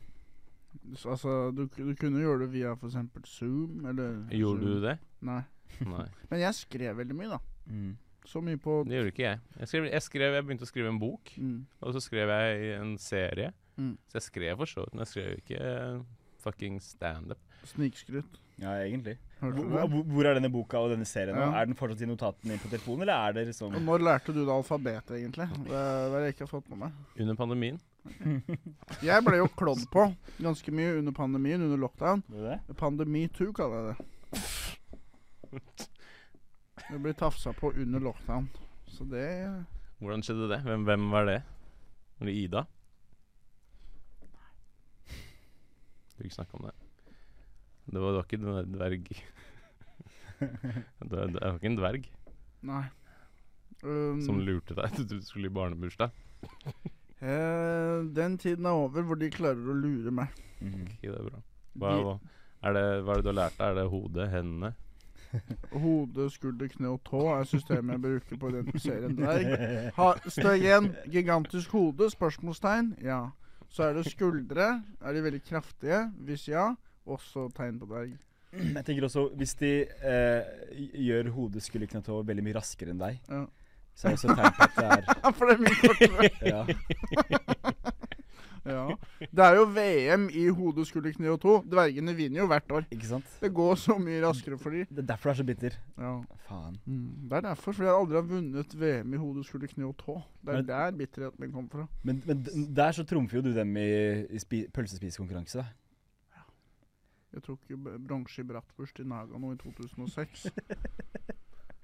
S2: Så, altså, du, du kunne gjøre det via f.eks. Zoom, eller
S1: Gjorde du det?
S2: Nei.
S1: Nei.
S2: Men jeg skrev veldig mye, da.
S3: Mm.
S2: Så mye på
S1: Det gjorde ikke jeg. Jeg, skrev, jeg, skrev, jeg begynte å skrive en bok,
S2: mm.
S1: og så skrev jeg en serie.
S2: Mm.
S1: Så jeg skrev for så vidt, men jeg skrev jo ikke eh, fucking standup.
S2: Snikskryt.
S3: Ja, egentlig.
S2: Hørte
S3: Hvor,
S2: du det?
S3: hvor- hvor er denne boka og denne serien nå?
S2: Ja.
S3: Er den fortsatt i notatene på telefonen, eller er det liksom
S2: Og når lærte du det alfabetet, egentlig? Det er det jeg ikke har fått med meg.
S1: Under pandemien.
S2: Jeg ble jo klådd på ganske mye under pandemien, under lockdown.
S3: Gjorde du det?
S2: Pandemi 2 kaller jeg det. Jeg blir tafsa på under lockdown. Så det
S1: Hvordan skjedde det? Hvem, hvem var det? Var det Ida? Du vil ikke snakke om det. Det var, det var ikke den der dverg... det, var- det var ikke en dverg
S2: Nei. Um,
S1: som lurte deg til du skulle i barnebursdag.
S2: eh, den tiden er over hvor de klarer å lure meg.
S3: Mhm.
S1: Ikke det bra. Hva, hva- er det, hva er det du har lært deg? Er det hodet? Hendene?
S2: Hode, skulder, kne og tå er systemet jeg bruker på å identifisere en dverg. Ha, steg én gigantisk hode? Spørsmålstegn. Ja. Så er det skuldre. Er de veldig kraftige? Hvis ja, også tegn på dverg.
S3: Jeg tenker også, hvis de eh, gjør hodet skulle knapt over veldig mye raskere enn deg,
S2: Ja.
S3: så er det også et tegn på at det
S2: For det er mye
S1: <laughs>
S2: kortere.
S3: er ja.
S2: Ja. Det er jo VM i hode, skulder, kne og tå. Dvergene vinner jo hvert år.
S3: Ikke sant?
S2: Det går så mye raskere for de.
S3: Det er derfor du er så bitter.
S2: Ja.
S3: Faen.
S2: Mm. Det er derfor, fordi jeg aldri har vunnet VM i hode, skulder, kne og tå. Det er
S3: Men-
S2: der bitterheten min kommer fra.
S3: Men, men d- der så trumfer jo du dem i, i spi, pølsespisekonkurranse, da.
S2: Jeg tok jo b- bronse i bratwurst i Nagano i 2006.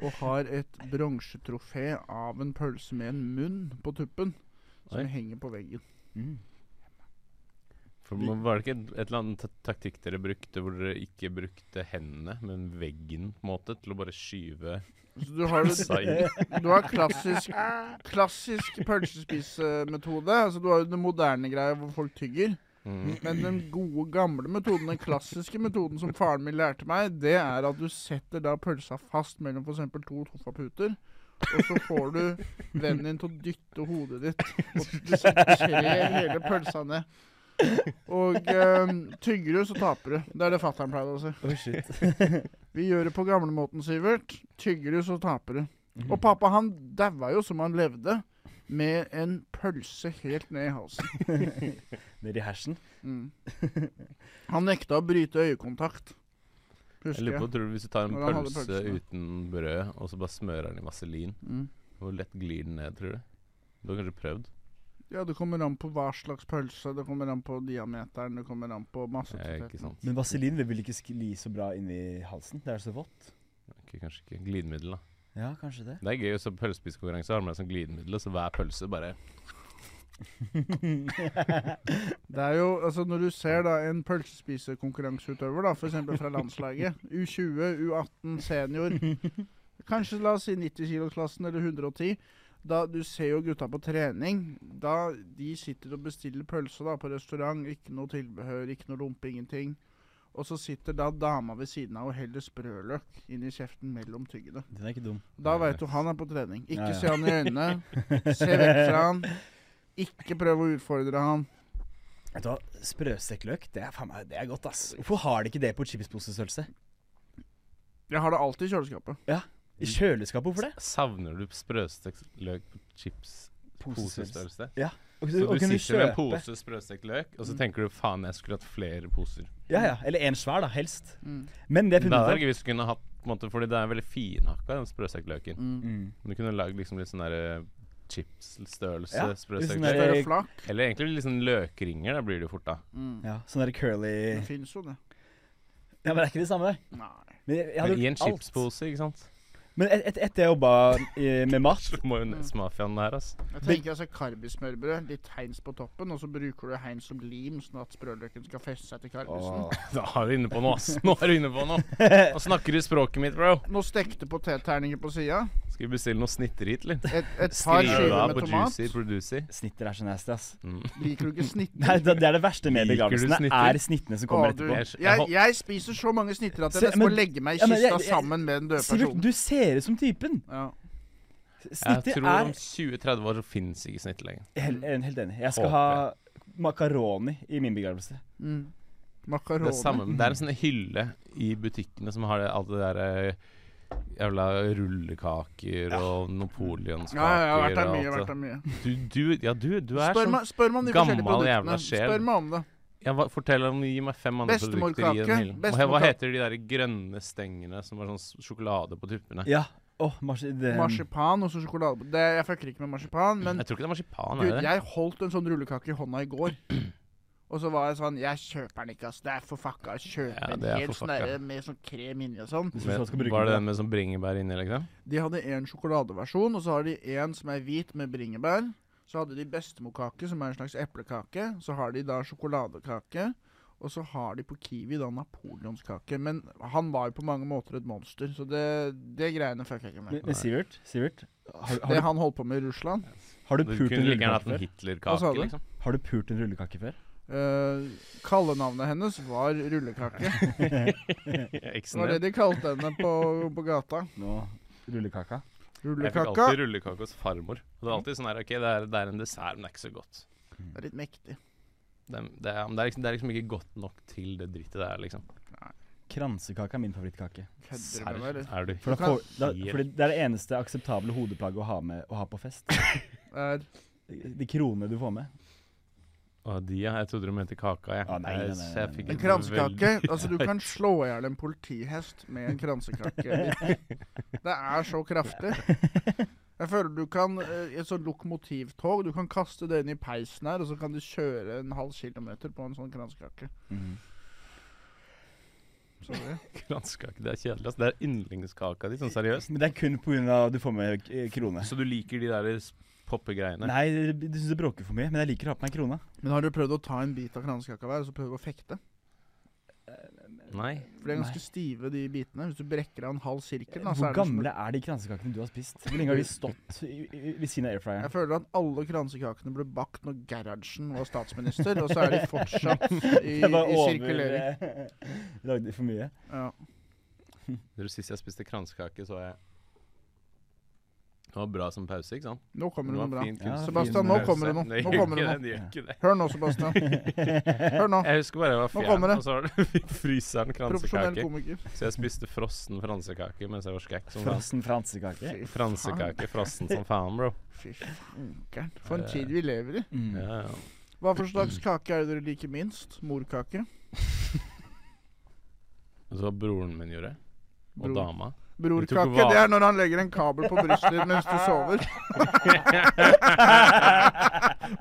S2: Og har et bronsetrofé av en pølse med en munn på tuppen, som
S1: Oi.
S2: henger på veggen.
S1: For må- Var det ikke et, et eller annet ta- taktikk dere brukte hvor dere ikke brukte hendene, men veggen på en måte, til å bare skyve
S2: Så du har,
S1: Sa
S2: jo- du har klassisk, klassisk pølsespisemetode. Altså, du har jo den moderne greia hvor folk tygger.
S1: mm.
S2: Men den gode, gamle metoden, den klassiske metoden som faren min lærte meg, det er at du setter da pølsa fast mellom f.eks. to sofaputer. Og så får du vennen din til å dytte hodet ditt og du trer hele pølsa ned. Og ehm, tygger du, så taper du. Det er det fatter'n pleide å si.
S3: Oh, shit.
S2: Vi gjør det på gamlemåten, Sivert. Tygger du, så taper du.
S1: Mhm.
S2: Og pappa han daua jo som han levde, med en pølse helt ned i halsen.
S3: Nedi hersen.
S2: Mm. Han nekta å bryte øyekontakt.
S1: Jeg
S2: Husker
S1: lurer
S2: jeg.
S1: på, tror du Hvis du tar en
S2: Hvordan hadde
S1: pølse
S2: pølsene?
S1: uten brød, og så bare smører den i vaselin,
S2: Mm.
S1: hvor lett glir den ned, tror du? Du har kanskje prøvd?
S2: Ja, det kommer an på hva slags pølse, det kommer an på diameteren, det kommer an på masse
S1: Eh, ikke sant.
S3: Men vaselin det vil ikke skli så bra inni halsen. Det er så vått.
S1: Ok, kanskje ikke. Glidemiddel, da.
S3: Ja, kanskje det.
S1: Det er gøy. Så pølsespisekonkurranse har med deg som glidemiddel, og så hver pølse bare
S2: Det er jo, altså Når du ser da en pølsespisekonkurranseutøver, da, f.eks. fra landslaget, U20, U18, senior, kanskje la oss si 90-kilosklassen eller 110 da Du ser jo gutta på trening. Da de sitter og bestiller pølse da på restaurant, ikke noe tilbehør, ikke noe lompe, ingenting. Og så sitter da dama ved siden av og heller sprøløk inn i kjeften mellom tyggene.
S3: Den er ikke dum.
S2: Da veit du han er på trening. Ikke
S3: Ja, ja.
S2: se han i øynene. Se vekk fra han. Ikke prøv å utfordre han.
S3: Vet du hva, Sprøstekkløk, det er faen meg det er godt, ass. Hvorfor har de ikke det på chipsposestørrelse?
S2: Jeg har det alltid i kjøleskapet.
S3: I kjøleskapet, hvorfor det?
S1: Savner du sprøstekt løk på chips? Posestørrelse?
S3: Og-
S1: Så
S3: og
S1: du
S3: kunne
S1: sitter med en
S3: kjøpe- Mm.
S1: pose sprøstekt løk, og så tenker du faen, jeg skulle hatt flere poser.
S3: Ja, ja. Eller en svær, da. Helst.
S2: Mm.
S3: Men det
S1: Det
S3: jeg har
S1: hadde vært
S3: funnet ut
S1: gøy hvis du kunne hatt på en måte, Fordi det er veldig finhakka, den sprøstekt løken.
S2: Mm.
S3: av mm.
S1: Du kunne lagd liksom litt sånn derre chips-størrelse
S3: Ja,
S1: sprøstekt løk.
S3: litt sånn
S2: Større
S3: Eh,
S2: flak.
S1: Eller egentlig litt sånn løkringer, da blir det jo fort, da.
S2: Mm.
S3: Ja, Sånn der curly
S2: Det fins jo det.
S3: Ja, Men det er ikke det samme, det.
S2: Nei.
S3: Men jeg, jeg hadde
S1: Men I en
S3: gjort alt.
S1: chipspose, ikke sant?
S3: Men et, et, etter jeg jobba eh, med mat
S1: <laughs> Majonesmafiaen der, altså.
S2: Jeg tenker altså karbismørbrød, litt Heinz på toppen, og så bruker du Heinz som lim, sånn at sprøløken skal feste seg til karbisen.
S3: Åh.
S1: Da er du inne på noe, ass. Nå er du inne på noe.
S2: <laughs>
S1: Nå snakker du språket mitt, bro.
S2: Noen stekte potetterninger på sida.
S1: Skal vi bestille noe snitter hit, eller?
S2: Et, et par
S1: Skrive
S2: skiver
S1: av
S2: med
S1: på
S2: tomat.
S1: Juicy Producer.
S3: Snitter er så nasty, ass.
S2: Liker du ikke
S3: Nei,
S2: snitter?
S3: det, det er det verste med
S1: Mm. Liker du
S3: begravelsene.
S1: snitter?
S3: Er snittene som
S2: Å,
S3: kommer
S2: du,
S3: etterpå.
S1: Jeg- jeg
S2: jeg,
S1: hol-
S2: jeg spiser så mange snitter at jeg
S3: Se,
S2: nesten må
S3: men-
S2: legge meg i
S3: ja, men jeg-
S2: kista
S3: jeg-
S2: sammen med den døde
S3: Sivert,
S2: personen.
S3: du ser ut som typen.
S2: Ja.
S1: Jeg
S3: Snitter
S1: tror
S3: er
S1: om 20-30 år så fins ikke snitter lenger.
S3: helt, en- helt enig. Jeg skal
S1: Håper
S3: ha makaroni i min begravelse.
S2: Mm.
S1: Det er,
S2: Makaroni.
S1: samme, det er en sånn hylle i butikkene som har det, alt det derre Jævla rullekaker og napoleonskaker
S2: Ja, ja, jeg har vært der
S1: og
S2: mye.
S1: alt
S2: vært
S1: altså. det.
S2: der mye.
S1: Du, du, ja, du, du er
S2: Spør,
S1: sånn
S2: meg, spør meg om de forskjellige
S1: gammel jævla
S2: produktene.
S1: sjel.
S2: Spør meg om det.
S1: ja, hva, Fortell om Gi meg fem andre produkter i den
S2: Bestemorkake,
S1: hyllen. Hva, hva
S2: bestemorkake.
S1: heter de der grønne stengene som har sånn s- sjokolade på tuppene?
S3: Ja. Åh, marsi- det-
S2: Marsipan og så sjokolade. Det, jeg fucker ikke med marsipan, men
S1: Jeg tror ikke det er marsipan.
S2: Gud,
S1: er det?
S2: jeg holdt en sånn rullekake i hånda i går. <clears throat> Og så var jeg sånn Jeg kjøper den ikke, ass. Det er for fucka å kjøpe
S1: Ja,
S2: en
S1: det er
S2: hel
S1: for
S2: sånn
S1: fucka.
S2: derre med sånn krem inni og sånn.
S3: Hvis du skal
S1: Men,
S3: bruke
S1: var det
S3: det.
S1: den med sånn bringebær inni, liksom?
S2: De hadde en sjokoladeversjon, og så har de en som er hvit med bringebær. Så hadde de bestemorkake, som er en slags eplekake. Så har de da sjokoladekake. Og så har de på Kiwi da napoleonskake. Men han var jo på mange måter et monster, så det, det greiene fucker jeg ikke
S3: Men,
S2: med.
S3: men Sivert, Sivert har, har,
S2: Det
S3: du,
S2: han holdt på med i Russland
S3: har du
S1: Du
S3: pult
S1: kunne
S3: en
S1: like gjerne hatt en
S3: rullekake før?
S2: Hva sa
S1: Hitler-kake,
S2: du?
S1: liksom.
S3: Har du pult en rullekake før?
S2: Eh, Kallenavnet hennes var rullekake. Det
S1: Eksen
S2: var det
S1: din.
S2: de kalte henne på, på
S1: <laughs>
S2: gata.
S3: Nå, rullekaka.
S1: Jeg fikk alltid
S2: Rullekaka.
S1: rullekake hos farmor. Og det er alltid sånn her, ok, det er, det er en dessert, men det er ikke så godt.
S2: Det er litt mektig.
S1: Det, det, er, men det, er liksom, det er liksom ikke godt nok til det drittet der, liksom.
S3: Kransekake er min favorittkake.
S2: Kødder du med meg, eller?
S1: Er du
S3: For da
S2: Du kan-
S3: får, da, fordi det er det eneste akseptable hodeplagget å ha med Å ha på fest.
S2: Er,
S3: De kronene du får med.
S1: Å, de, ja. Jeg trodde du mente kaka, jeg.
S3: Å, nei, nei,
S1: Jeg-
S3: nei,
S1: så
S3: nei,
S1: jeg
S3: nei,
S1: fikk
S3: nei.
S2: en
S1: et
S2: kransekake.
S1: veldig-
S2: Altså, du kan slå i hjel en politihest med en
S1: <laughs>
S2: kransekake. Det er så kraftig. Jeg føler du kan eh, I et sånt lokomotivtog, du kan kaste det inn i peisen her, og så kan du kjøre en halv kilometer på en sånn kransekake.
S1: Mhm.
S2: Sorry.
S1: Kransekake, det er kjedelig. ass. Det er yndlingskaka di, sånn seriøst.
S3: Men det er kun pga. du får med eh, krone.
S1: Så du liker de der s- poppegreiene?
S3: Nei, du syns det bråker for mye, men jeg liker å ha på meg krona.
S2: Men har du prøvd å ta en bit av kransekaka hver, og så prøve å fekte?
S1: Nei.
S2: For de er ganske stive, de bitene. Hvis du brekker av en halv sirkel, da, så
S3: Hvor
S2: er det som
S3: gamle er de kransekakene du har spist? Hvor lenge har de stått i- i- ved siden av
S2: Jeg
S3: airfryeren?
S2: føler at alle kransekakene ble bakt når Gerhardsen var statsminister, og så er de fortsatt i,
S3: Jeg bare
S2: i
S3: over-
S2: sirkulering.
S3: <laughs> Lagde for mye.
S2: Ja.
S1: Dere, Sist jeg spiste kransekake, så jeg Det var bra som pause, ikke sant?
S2: Nå kommer det noe
S1: var
S2: bra.
S1: fin
S3: Ja,
S1: kunst.
S2: Sebastian,
S3: fin
S2: nå
S3: pause.
S2: kommer det noe.
S1: Nei,
S2: Nå
S1: gjør
S2: kommer det
S1: ikke
S2: noe.
S1: Det gjør ikke det.
S2: Hør nå, Sebastian. Hør
S1: <laughs>
S2: nå.
S1: Jeg husker bare jeg var
S2: Nå
S1: fjern,
S2: kommer det.
S1: og så var det <laughs> i fryseren
S2: Profesjonell
S1: kransekake.
S2: komiker.
S1: Så jeg spiste frossen fransekake mens jeg var skrekk som faen.
S3: Frossen fransekake.
S2: Fy faen.
S1: Fransekake frossen som faen, bro.
S2: Fy fankeren. For en tid vi lever i.
S3: Mm.
S1: Ja, ja.
S2: Hva for
S1: Mm.
S2: slags kake er det dere liker minst? Morkake?
S1: Og så broren min gjorde. Og
S2: Bror.
S1: dama. Du tok
S2: Brorkake,
S1: hva?
S2: det er når han legger en kabel på brystet ditt mens du
S1: <laughs>
S2: sover.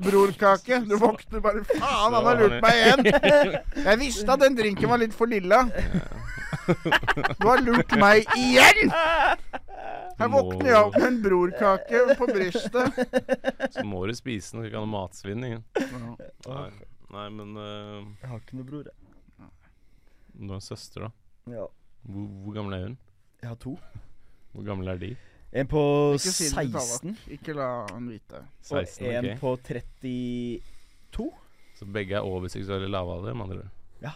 S2: Brorkake, du våkner bare Faen, han har lurt meg igjen! Jeg visste at den drinken var litt for lilla. Du har lurt meg igjen! Her våkner jeg opp med en brorkake på brystet.
S1: Så må du spise den, så ikke ha noe matsvinn. Ingen. Nei. Nei, men øh,
S3: Jeg har ikke noe bror, jeg.
S1: du har en søster, da.
S3: Ja.
S1: Hvor, hvor gammel er hun?
S3: Jeg har to.
S1: Hvor gammel er de?
S3: En på
S2: Ikke si det til Tallak.
S3: 16
S2: Ikke la han vite.
S1: 16,
S3: og en
S1: ok?
S3: på 32.
S1: Så begge er over seksuelle lavalderen, med andre ord?
S3: Ja.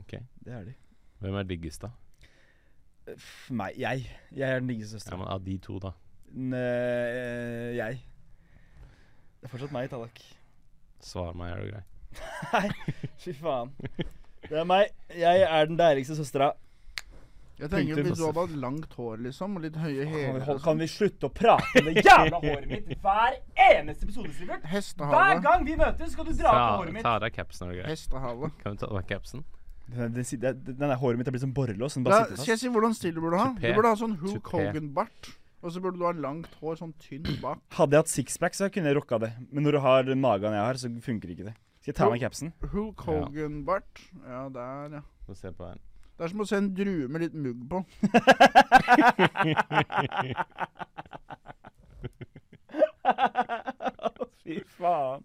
S1: Ok.
S3: Det er de.
S1: Hvem er diggest, da?
S3: F- Meg. Jeg. Jeg er den diggeste
S1: Ja,
S3: søsteren.
S1: men Av de to, da.
S3: Nø, eh, jeg. Det er fortsatt meg, Tallak.
S1: Svar meg, er du grei.
S3: Fy faen. Det er meg. Jeg er den deiligste søstera.
S2: Jeg tenker Hvis du hadde hatt langt hår liksom, og litt høye
S3: Kan,
S2: hæler
S3: vi
S2: og
S3: hol-
S2: sånn.
S3: kan vi slutte å prate om det jævla håret mitt hver eneste episode, Sivert? Hver
S2: Hestehale.
S3: gang vi møtes, skal du dra
S1: Ta,
S3: på håret mitt.
S1: ta av deg capsen, er du grei.
S2: Hestehale.
S1: Kan du ta av deg capsen?
S3: Den, den, si- den, den der håret mitt er blitt som borrelås. Den
S2: Da
S3: bare sitter sånn.
S2: skal jeg
S3: fast.
S2: si hvordan stil du burde ha. Du
S1: Tupé.
S2: burde ha sånn Hulk
S1: Tupé.
S2: Hogan-bart. Og så burde du ha langt hår, sånn tynt bak.
S3: Hadde jeg hatt sixpack, så kunne jeg rocka det. Men når du har den magen jeg har, så funker ikke det. Skal jeg ta av meg capsen?
S2: Hulk
S1: Ja.
S2: Hogan-bart. Ja, der, ja.
S1: Få se på den.
S2: Det er som å se en drue med litt mugg på.
S3: Fy faen.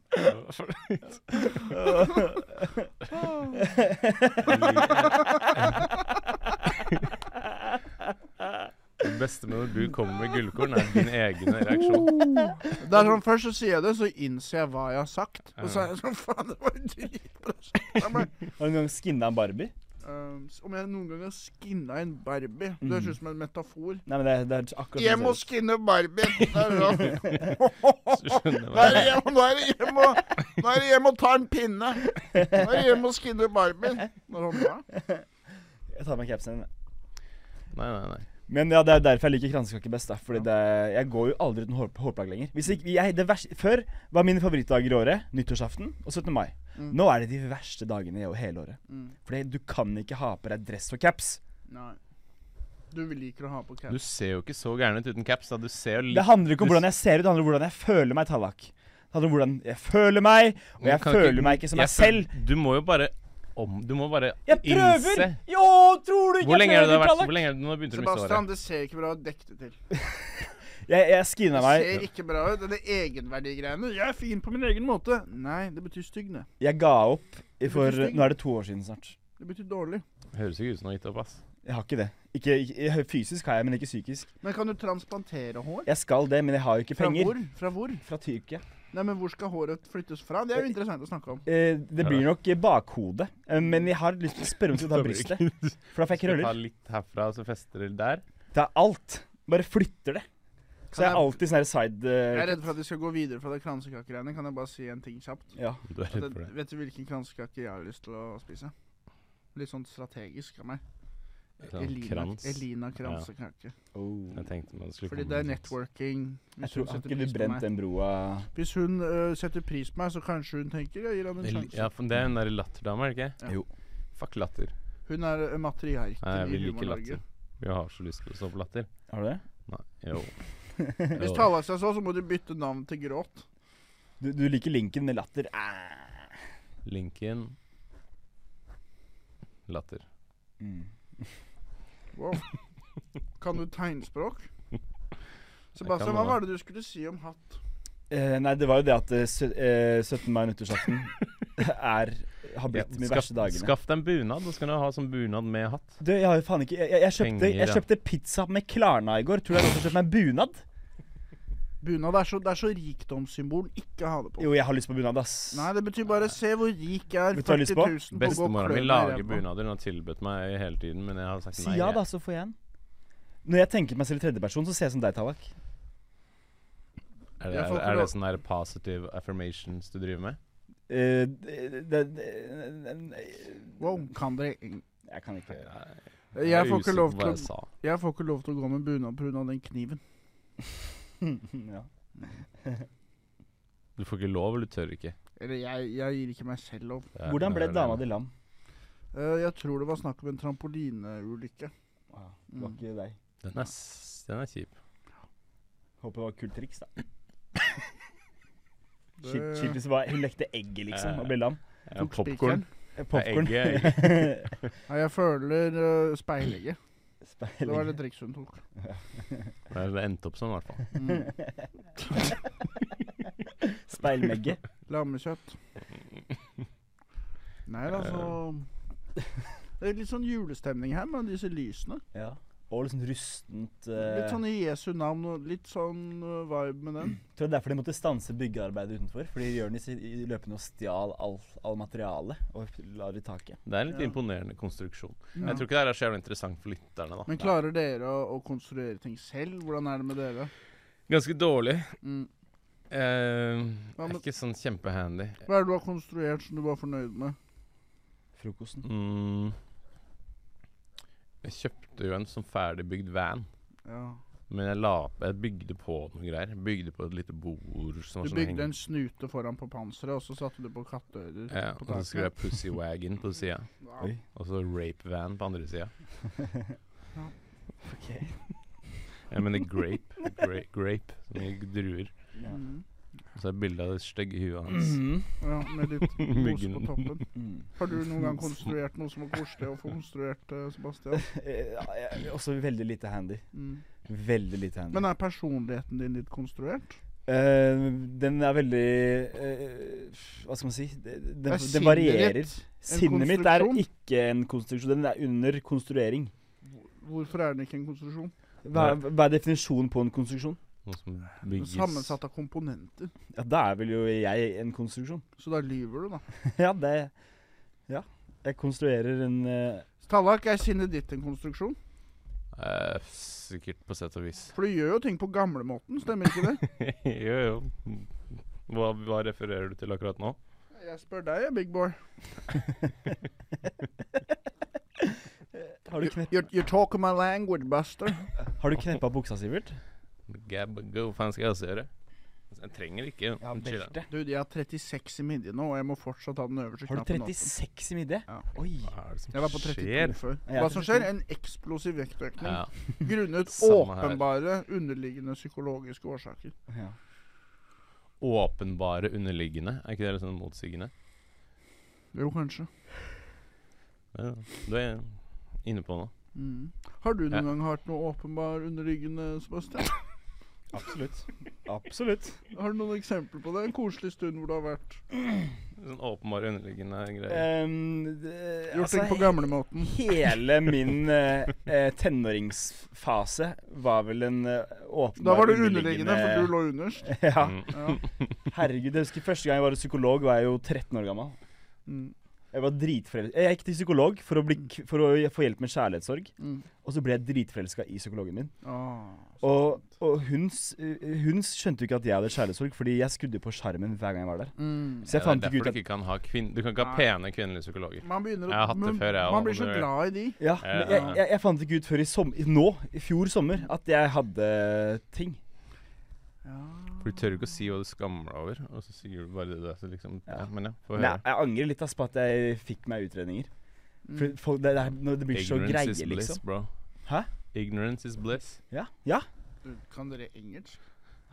S1: Det beste med når du kommer med gullkorn, er din egen
S3: <laughs>
S1: reaksjon.
S2: Det er sånn, Først så sier jeg det, så innser jeg hva jeg har sagt. Og så er jeg sånn <laughs> Faen, det var dritbra. <laughs> sagt av meg.
S3: Har du noen gang skinna en Barbie?
S2: Um, s- om jeg noen gang har skinna en Barbie Det høres ut som en metafor.
S3: Nei, men det, er- det er akkurat
S2: Jeg må
S3: sånn.
S2: skinne Barbie! Det er sånn.
S1: Så skjønner jeg
S2: Nå er
S1: hva
S2: det hjem- nå er det hjem og- nå er det hjem og ta en pinne. Nå er det hjem og skinne Barbie. Nå er det sånn, hva?
S3: Jeg tar meg capsen.
S1: Nei, nei, nei.
S3: Men ja, det er derfor jeg liker kransekake best. da Fordi det, jeg går jo aldri uten hår, hårplagg lenger. Hvis ikke, jeg, det verste, før var mine favorittdager i året nyttårsaften og 17. mai.
S1: Mm.
S3: Nå er det de verste dagene i hele året. Fordi du kan ikke ha på deg dress og caps.
S2: Nei. Du liker å ha på
S1: Du
S2: caps.
S1: ser jo ikke så gæren ut uten caps. da Du ser jo
S3: Det
S1: litt
S3: handler ikke om hvordan jeg ser ut, det handler om hvordan jeg føler meg. Tallak Det handler om hvordan jeg føler meg, og jeg
S1: Kan
S3: føler meg ikke som meg
S1: føl-
S3: selv.
S1: Du må jo bare om Du må bare
S3: Jeg prøver!
S1: innse
S3: Jo, tror du ikke
S1: Hvor lenge er det det har
S3: jeg
S1: vært? Hvor
S3: prøver,
S1: lenge er det, nå begynte du å miste
S2: Sebastian,
S1: håret.
S2: det ser ikke bra ut. Dekk det til.
S3: Jeg, jeg screena
S2: Det ser
S3: meg.
S2: ikke bra ut. Det er egenverdigreiene. Jeg er fin på min egen måte. Nei, det betyr stygg, det.
S3: Jeg ga opp i for
S2: betyr stygg.
S3: Nå er det to år siden snart.
S2: Det betyr dårlig.
S1: Høres ikke ut som du har gitt opp, ass.
S3: Jeg har ikke det. Ikke, ikke, fysisk har jeg, men ikke psykisk.
S2: Men kan du transplantere hår?
S3: Jeg skal det, men jeg har jo ikke
S2: Fra
S3: penger.
S2: hvor? Fra hvor?
S3: Fra Tyrkia.
S2: Nei, men hvor skal håret flyttes fra? Det er jo interessant å snakke om.
S3: Eh, det blir nok eh, bakhodet, eh, men jeg har lyst til å
S1: <laughs>
S3: spørre om jeg skal ta brystet. For da får jeg
S1: Skal ta
S3: krøller.
S1: litt herfra, så fester det der.
S3: Det er alt. Bare flytter det. Så
S2: Kan
S3: jeg er
S2: jeg-
S3: alltid sånn her side
S2: Jeg er
S3: eh,
S2: redd for at vi skal gå videre fra det kransekakegreiene. Kan jeg bare si en ting kjapt?
S3: Ja.
S1: Du er
S2: At
S1: redd for
S2: jeg,
S1: det.
S2: vet du hvilken kransekake jeg har lyst til å spise? Litt sånn strategisk av meg.
S1: Sånn
S2: Elina,
S1: krans.
S2: Elina kransekake.
S1: Jeg tenkte man skulle
S2: Fordi
S1: komme
S2: det er
S1: med sånt.
S2: networking. Hvis
S3: Jeg tror,
S2: hun
S3: har
S2: setter
S3: ikke
S2: pris
S3: du
S2: på
S3: brent
S2: meg-
S3: den broa
S2: Hvis hun øh, setter pris på meg, så kanskje hun tenker jeg gir han en
S1: Vel,
S2: sjanse.
S1: Ja, for det er den derre latterdama, er det ikke?
S2: Ja.
S3: Jo.
S1: Fuck latter.
S2: Hun er øh,
S1: Nei,
S2: matriarken
S1: vi
S2: i
S1: liker latter.
S2: Humor-Norge.
S1: Vi har så lyst til å stå på latter.
S3: Har du det?
S1: Nei,
S2: <laughs>
S1: jo.
S2: Hvis
S1: Jo.
S2: Tallak seg så, så må du bytte navn til Gråt.
S3: Du, du liker linken med latter. Ah.
S1: Lincoln Latter.
S3: Mm.
S1: <laughs>
S2: Wow. Kan du tegnspråk?
S1: kan
S2: Sebastian, hva
S1: noe.
S2: var det du skulle si om hatt?
S3: Eh, nei, det var jo det at eh, sø, eh, 17. mai nyttårsaften
S1: <laughs>
S3: er har blitt mine
S1: skaff,
S3: verste dagene.
S1: skaff deg en bunad, og så kan du ha sånn bunad med hatt.
S3: Du, jeg har jo faen ikke Jeg, jeg, jeg, kjøpte,
S1: Penger,
S3: jeg
S1: ja.
S3: kjøpte pizza med Klarna i går. Tror du jeg har lov til å kjøpe meg en bunad?
S2: Bunad er så, det er så rikdomssymbol. Ikke ha det på.
S3: Jo, jeg har lyst på bunad, ass.
S2: Nei, det betyr bare se hvor rik jeg er.
S3: Vet du hva jeg har
S2: 40
S3: lyst
S2: 000 på å gå og
S3: på?
S1: Bestemora mi
S2: klø meg i
S1: lager
S2: ræva.
S1: bunader. Hun har tilbudt meg hele tiden, men jeg har sagt
S3: Si
S1: nei.
S3: ja,
S1: jeg.
S3: da, så får jeg en. Når jeg tenker på meg selv i tredjeperson, så ser jeg som deg, Tallak.
S1: Er det, er,
S2: Jeg får ikke
S1: er det
S2: lov.
S1: sånn der positive affirmations du driver med?
S3: Eh, det- det- det-
S2: Wow, kan dere eng-
S3: Jeg kan ikke
S2: jeg får, ikke
S1: usikker
S2: lov
S1: på hva jeg
S2: til å,
S1: sa.
S2: jeg får ikke lov til å gå med bunad pga. den kniven.
S3: <laughs> <laughs> ja.
S1: Du får ikke lov, eller du tør ikke.
S2: Eller jeg, jeg gir ikke meg selv lov.
S1: Det er-
S3: Hvordan
S1: det
S3: ble
S1: er-
S3: dama di lam?
S2: Eh, jeg tror det var snakk om en trampolineulykke.
S3: Ah, Det var
S2: Mm.
S3: ikke deg.
S1: Den er, s- den er kjip.
S3: Håper det var kult triks, da.
S2: Det-
S3: Kjipt kjipt hvis det var Hun lekte egget, liksom, og ble lam.
S1: Ja,
S2: Tok spikeren.
S1: popcorn.
S3: Eh, Popcorn. <laughs>
S1: egget,
S2: Nei, jeg føler uh,
S1: <laughs>
S2: speilegget. Det var det
S3: Speiling.
S2: trikset hun tok.
S1: Det er det det endte opp som, i hvert fall.
S2: Mm.
S1: <laughs>
S3: Speilmegge.
S2: Lammekjøtt. Nei da,
S1: <laughs>
S2: så Det er litt sånn julestemning her med disse lysene.
S3: Ja. Og litt sånn rustent eh,
S2: Litt sånn i Jesu navn og litt sånn eh, vibe med den.
S3: Tror det er derfor de måtte stanse byggearbeidet utenfor. Fordi Jonis løp ned og stjal all, all materiale og la det i taket.
S1: Det er en litt
S2: Ja.
S1: imponerende konstruksjon.
S2: Ja.
S1: Jeg tror ikke det her er så jævlig interessant for lytterne, da.
S2: Men klarer dere å, å konstruere ting selv? Hvordan er det med dere?
S1: Ganske dårlig.
S2: Mm.
S1: Eh,
S2: Hva
S1: er
S2: med-
S1: ikke sånn kjempehandy.
S2: Hva er det du har konstruert som du var fornøyd med?
S3: Frokosten.
S1: Mm. Jeg kjøpte jo en sånn ferdigbygd van,
S2: Ja.
S1: men jeg, la, jeg bygde på noe greier. Jeg bygde på et lite bord som var
S2: Du
S1: sånn
S2: bygde en
S1: heng-
S2: snute foran på panseret, og så satte du på katteører
S1: ja,
S2: på
S1: og så skrev jeg 'Pussy Wagon' på sida,
S2: <laughs> Ja.
S3: Oi.
S1: og så 'Rape Van' på andre sida.
S3: Ok.
S1: Jeg mener grape. Grape, grape som i druer.
S3: Ja.
S2: Mm.
S1: Så er det bilde av det stygge huet hans.
S3: Mhm.
S2: Ja, med
S3: <laughs>
S2: litt mos på
S1: Myggen.
S2: toppen.
S3: Mm.
S2: Har du noen gang konstruert noe som var koselig å få konstruert, eh,
S3: <laughs>
S2: Sebastian?
S3: <laughs> Eh, ja, jeg- Også veldig lite handy.
S2: Mm.
S3: Veldig lite handy.
S2: Men er personligheten din litt konstruert?
S3: Eh, den er veldig eh, Hva skal man si? Den,
S2: Er
S3: den,
S2: sinnet
S3: den varierer.
S2: ditt
S3: Sinnet mitt er
S2: konstruksjon?
S3: ikke en konstruksjon. Den er under konstruering.
S2: Hvorfor er den ikke en konstruksjon?
S3: Hva, hva er definisjonen på en konstruksjon?
S1: Noe som
S2: Den er
S1: bygges
S2: Sammensatt av komponenter.
S3: Ja, Da er vel jo jeg en konstruksjon. <laughs>
S2: Så da lyver du, da.
S3: ja, det Ja. Jeg konstruerer en eh,
S2: Tallak, er sinnet ditt en konstruksjon?
S1: Eh, Sikkert på sett og vis. <laughs>
S2: For du gjør jo ting på gamlemåten, stemmer ikke det?
S3: <laughs>
S1: jo, jo. Hva, hva refererer du til akkurat nå?
S2: Jeg spør deg, jeg, big boy.
S3: Har du, kne
S2: You're, you're talking my language, buster.
S3: har du kneppa buksa, Sivert?
S1: Gab, go, hva faen skal jeg også gjøre? Jeg trenger ikke Chill, da.
S2: Du, jeg har 36 i midje nå, og jeg må fortsatt ha den øverste
S3: Har du
S2: knappen oppe.
S3: 36 i midje?
S2: Ja.
S3: Oi.
S1: Hva er det som
S2: Jeg var på
S1: skjer?
S2: 32 før.
S3: Ja, jeg
S2: Hva som skjer?
S3: 32.
S2: En eksplosiv vektøkning
S1: Ja.
S2: grunnet
S1: Samme her.
S2: åpenbare underliggende psykologiske årsaker.
S3: Ja.
S1: Åpenbare underliggende, er ikke det litt sånn motsigende?
S2: Jo, kanskje.
S1: Ja, du er inne på noe.
S2: Mm. Har du
S1: Ja.
S2: noen gang hatt noe åpenbar underliggende, Sebastian?
S3: Absolutt. <laughs> Absolutt.
S2: Har du noen eksempler på det? En koselig stund hvor du har vært
S1: Sånn åpenbare underliggende greier.
S3: Um, det-
S2: Gjort ting
S3: altså,
S2: på gamlemåten.
S3: Hele min eh, eh, tenåringsfase var vel en eh, åpenbar
S2: Da var du underliggende, for du lå underst.
S3: Ja.
S1: Mm.
S2: Ja.
S3: Herregud, jeg husker første gang jeg var hos psykolog, var jeg jo 13 år gammel.
S2: Mm.
S3: Jeg var dritforelsket. Jeg gikk til psykolog for å, bli, k- for å få hjelp med kjærlighetssorg.
S2: Mm.
S3: Og så ble jeg dritforelska i psykologen min.
S2: Ah,
S3: Og, og hun, s- eh, hun skjønte jo ikke at jeg hadde kjærlighetssorg, fordi jeg skrudde på skjermen hver gang jeg var der.
S2: mm.
S3: Så jeg
S1: Ja,
S3: fant
S1: det er
S3: ikke
S1: derfor
S3: ut
S1: du
S3: at
S1: ikke kan ha kvinn... Du kan ikke ha pene kvinnelige psykologer.
S2: Man begynner å
S1: Jeg har hatt det
S2: man-
S1: før, jeg også,
S2: Man blir så
S1: men det-
S2: glad i de.
S3: ja,
S1: Eh,
S3: men jeg, jeg, jeg fant ikke ut før i som, nå, i fjor sommer, at jeg hadde ting.
S1: For du tør ikke å si hva du skammer deg over, og så sier du bare det der. Så liksom,
S3: Ja.
S1: ja, men ja, få
S3: Nei,
S1: høre.
S3: jeg angrer litt ass, på at jeg fikk meg utredninger. For folk, det, det, er- når det blir så
S1: Ignorance is
S3: greie,
S1: bliss,
S3: liksom.
S1: bro.
S3: Hæ?
S1: Ignorance is bliss.
S3: Ja. ja.
S2: Du, Kan dere engelsk?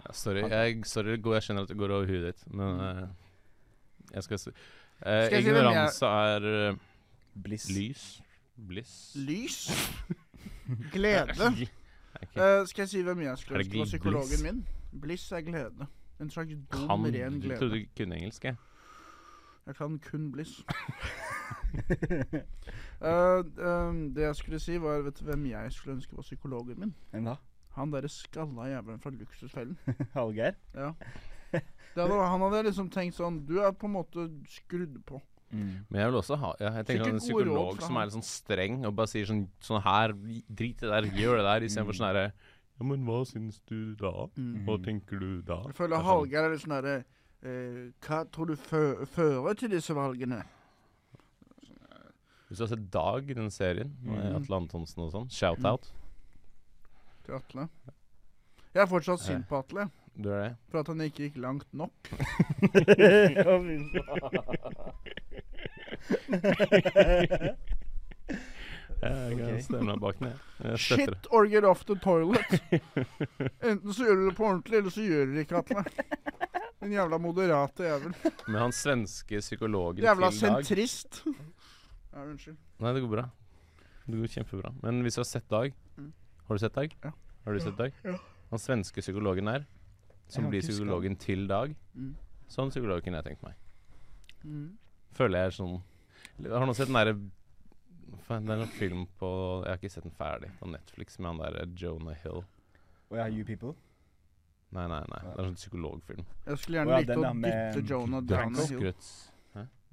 S1: Ja, sorry, jeg, sorry, det går- jeg skjønner at det går over huet ditt, men
S3: Mm.
S1: eh, jeg skal si eh,
S2: Skal jeg si hvem jeg-
S1: Ignoranse er eh,
S3: Bliss.
S1: lys. Bliss.
S2: Lys?
S1: <laughs>
S2: Glede?
S1: Ok.
S2: Eh, skal jeg si hvem jeg skulle
S1: Er det
S2: ønske
S1: gl-
S2: var psykologen
S1: bliss?
S2: min? Bliss er glede. En slags dum,
S1: Kan
S2: ren
S1: Jeg trodde
S2: glede.
S1: du ikke kunne engelsk, jeg.
S2: Jeg kan kun
S1: <laughs>
S2: bliss. Eh, ehm, det jeg skulle si, var Vet du hvem jeg skulle ønske var psykologen min?
S3: Hvem da?
S2: Han derre skalla jævelen fra Luksusfellen.
S3: <laughs> Hallgeir?
S2: Ja. Det hadde, han hadde liksom tenkt sånn Du er på en måte skrudd på.
S3: Mm.
S1: Men jeg vil også ha ja, jeg tenker
S2: Sikkert
S1: sånn en
S2: gode råd
S1: psykolog
S2: fra
S1: som
S2: han.
S1: er litt sånn streng og bare sier sånn, sånn her Drit i det der, gjør det der, istedenfor sånn herre Ja, men hva syns du da? Hva tenker du da?
S2: Jeg
S1: Det er
S2: føler
S1: sånn-
S2: Hallgeir er litt sånn derre eh, Hva tror du fø fører til disse valgene?
S1: Hvis du har sett Dag, den serien,
S2: Mm.
S1: med Atle Antonsen og sånn, shout-out.
S2: Til Atle. Jeg er fortsatt sint på Atle
S1: Du er det?
S2: for at han ikke gikk langt nok.
S1: Jeg kan stemme deg bak den, jeg. jeg. støtter det.
S2: Shit or get off the
S1: <laughs>
S2: toilet. Enten så gjør du det på ordentlig, eller så gjør du det ikke, Atle. Den jævla moderate jævel.
S1: Men han svenske psykologen
S2: Jævla
S1: til Dag
S2: sentrist. Ja, unnskyld.
S1: Nei, det går bra. Det går kjempebra. Men hvis du har sett Dag Har du sett Dag?
S2: Mm. Ja.
S1: Har du sett Dag? Han svenske psykologen der, som
S3: Jeg
S1: blir
S3: husker han.
S1: psykologen til Dag,
S2: Mm.
S1: sånn psykolog kunne jeg tenkt meg.
S2: Mm.
S1: Føler jeg er sånn Har noen sett den derre Faen, Det er en sånn film på Jeg har ikke sett den ferdig på Netflix med han derre Jonah Hill.
S3: Og jeg har You People.
S1: Nei, nei, nei. Det er en sånn psykologfilm.
S2: Jeg skulle
S3: Å ja,
S2: gjerne likt
S3: den
S2: å
S3: da med-
S2: dytte Jonah down
S1: Frank
S2: a hill.
S1: Skrutz.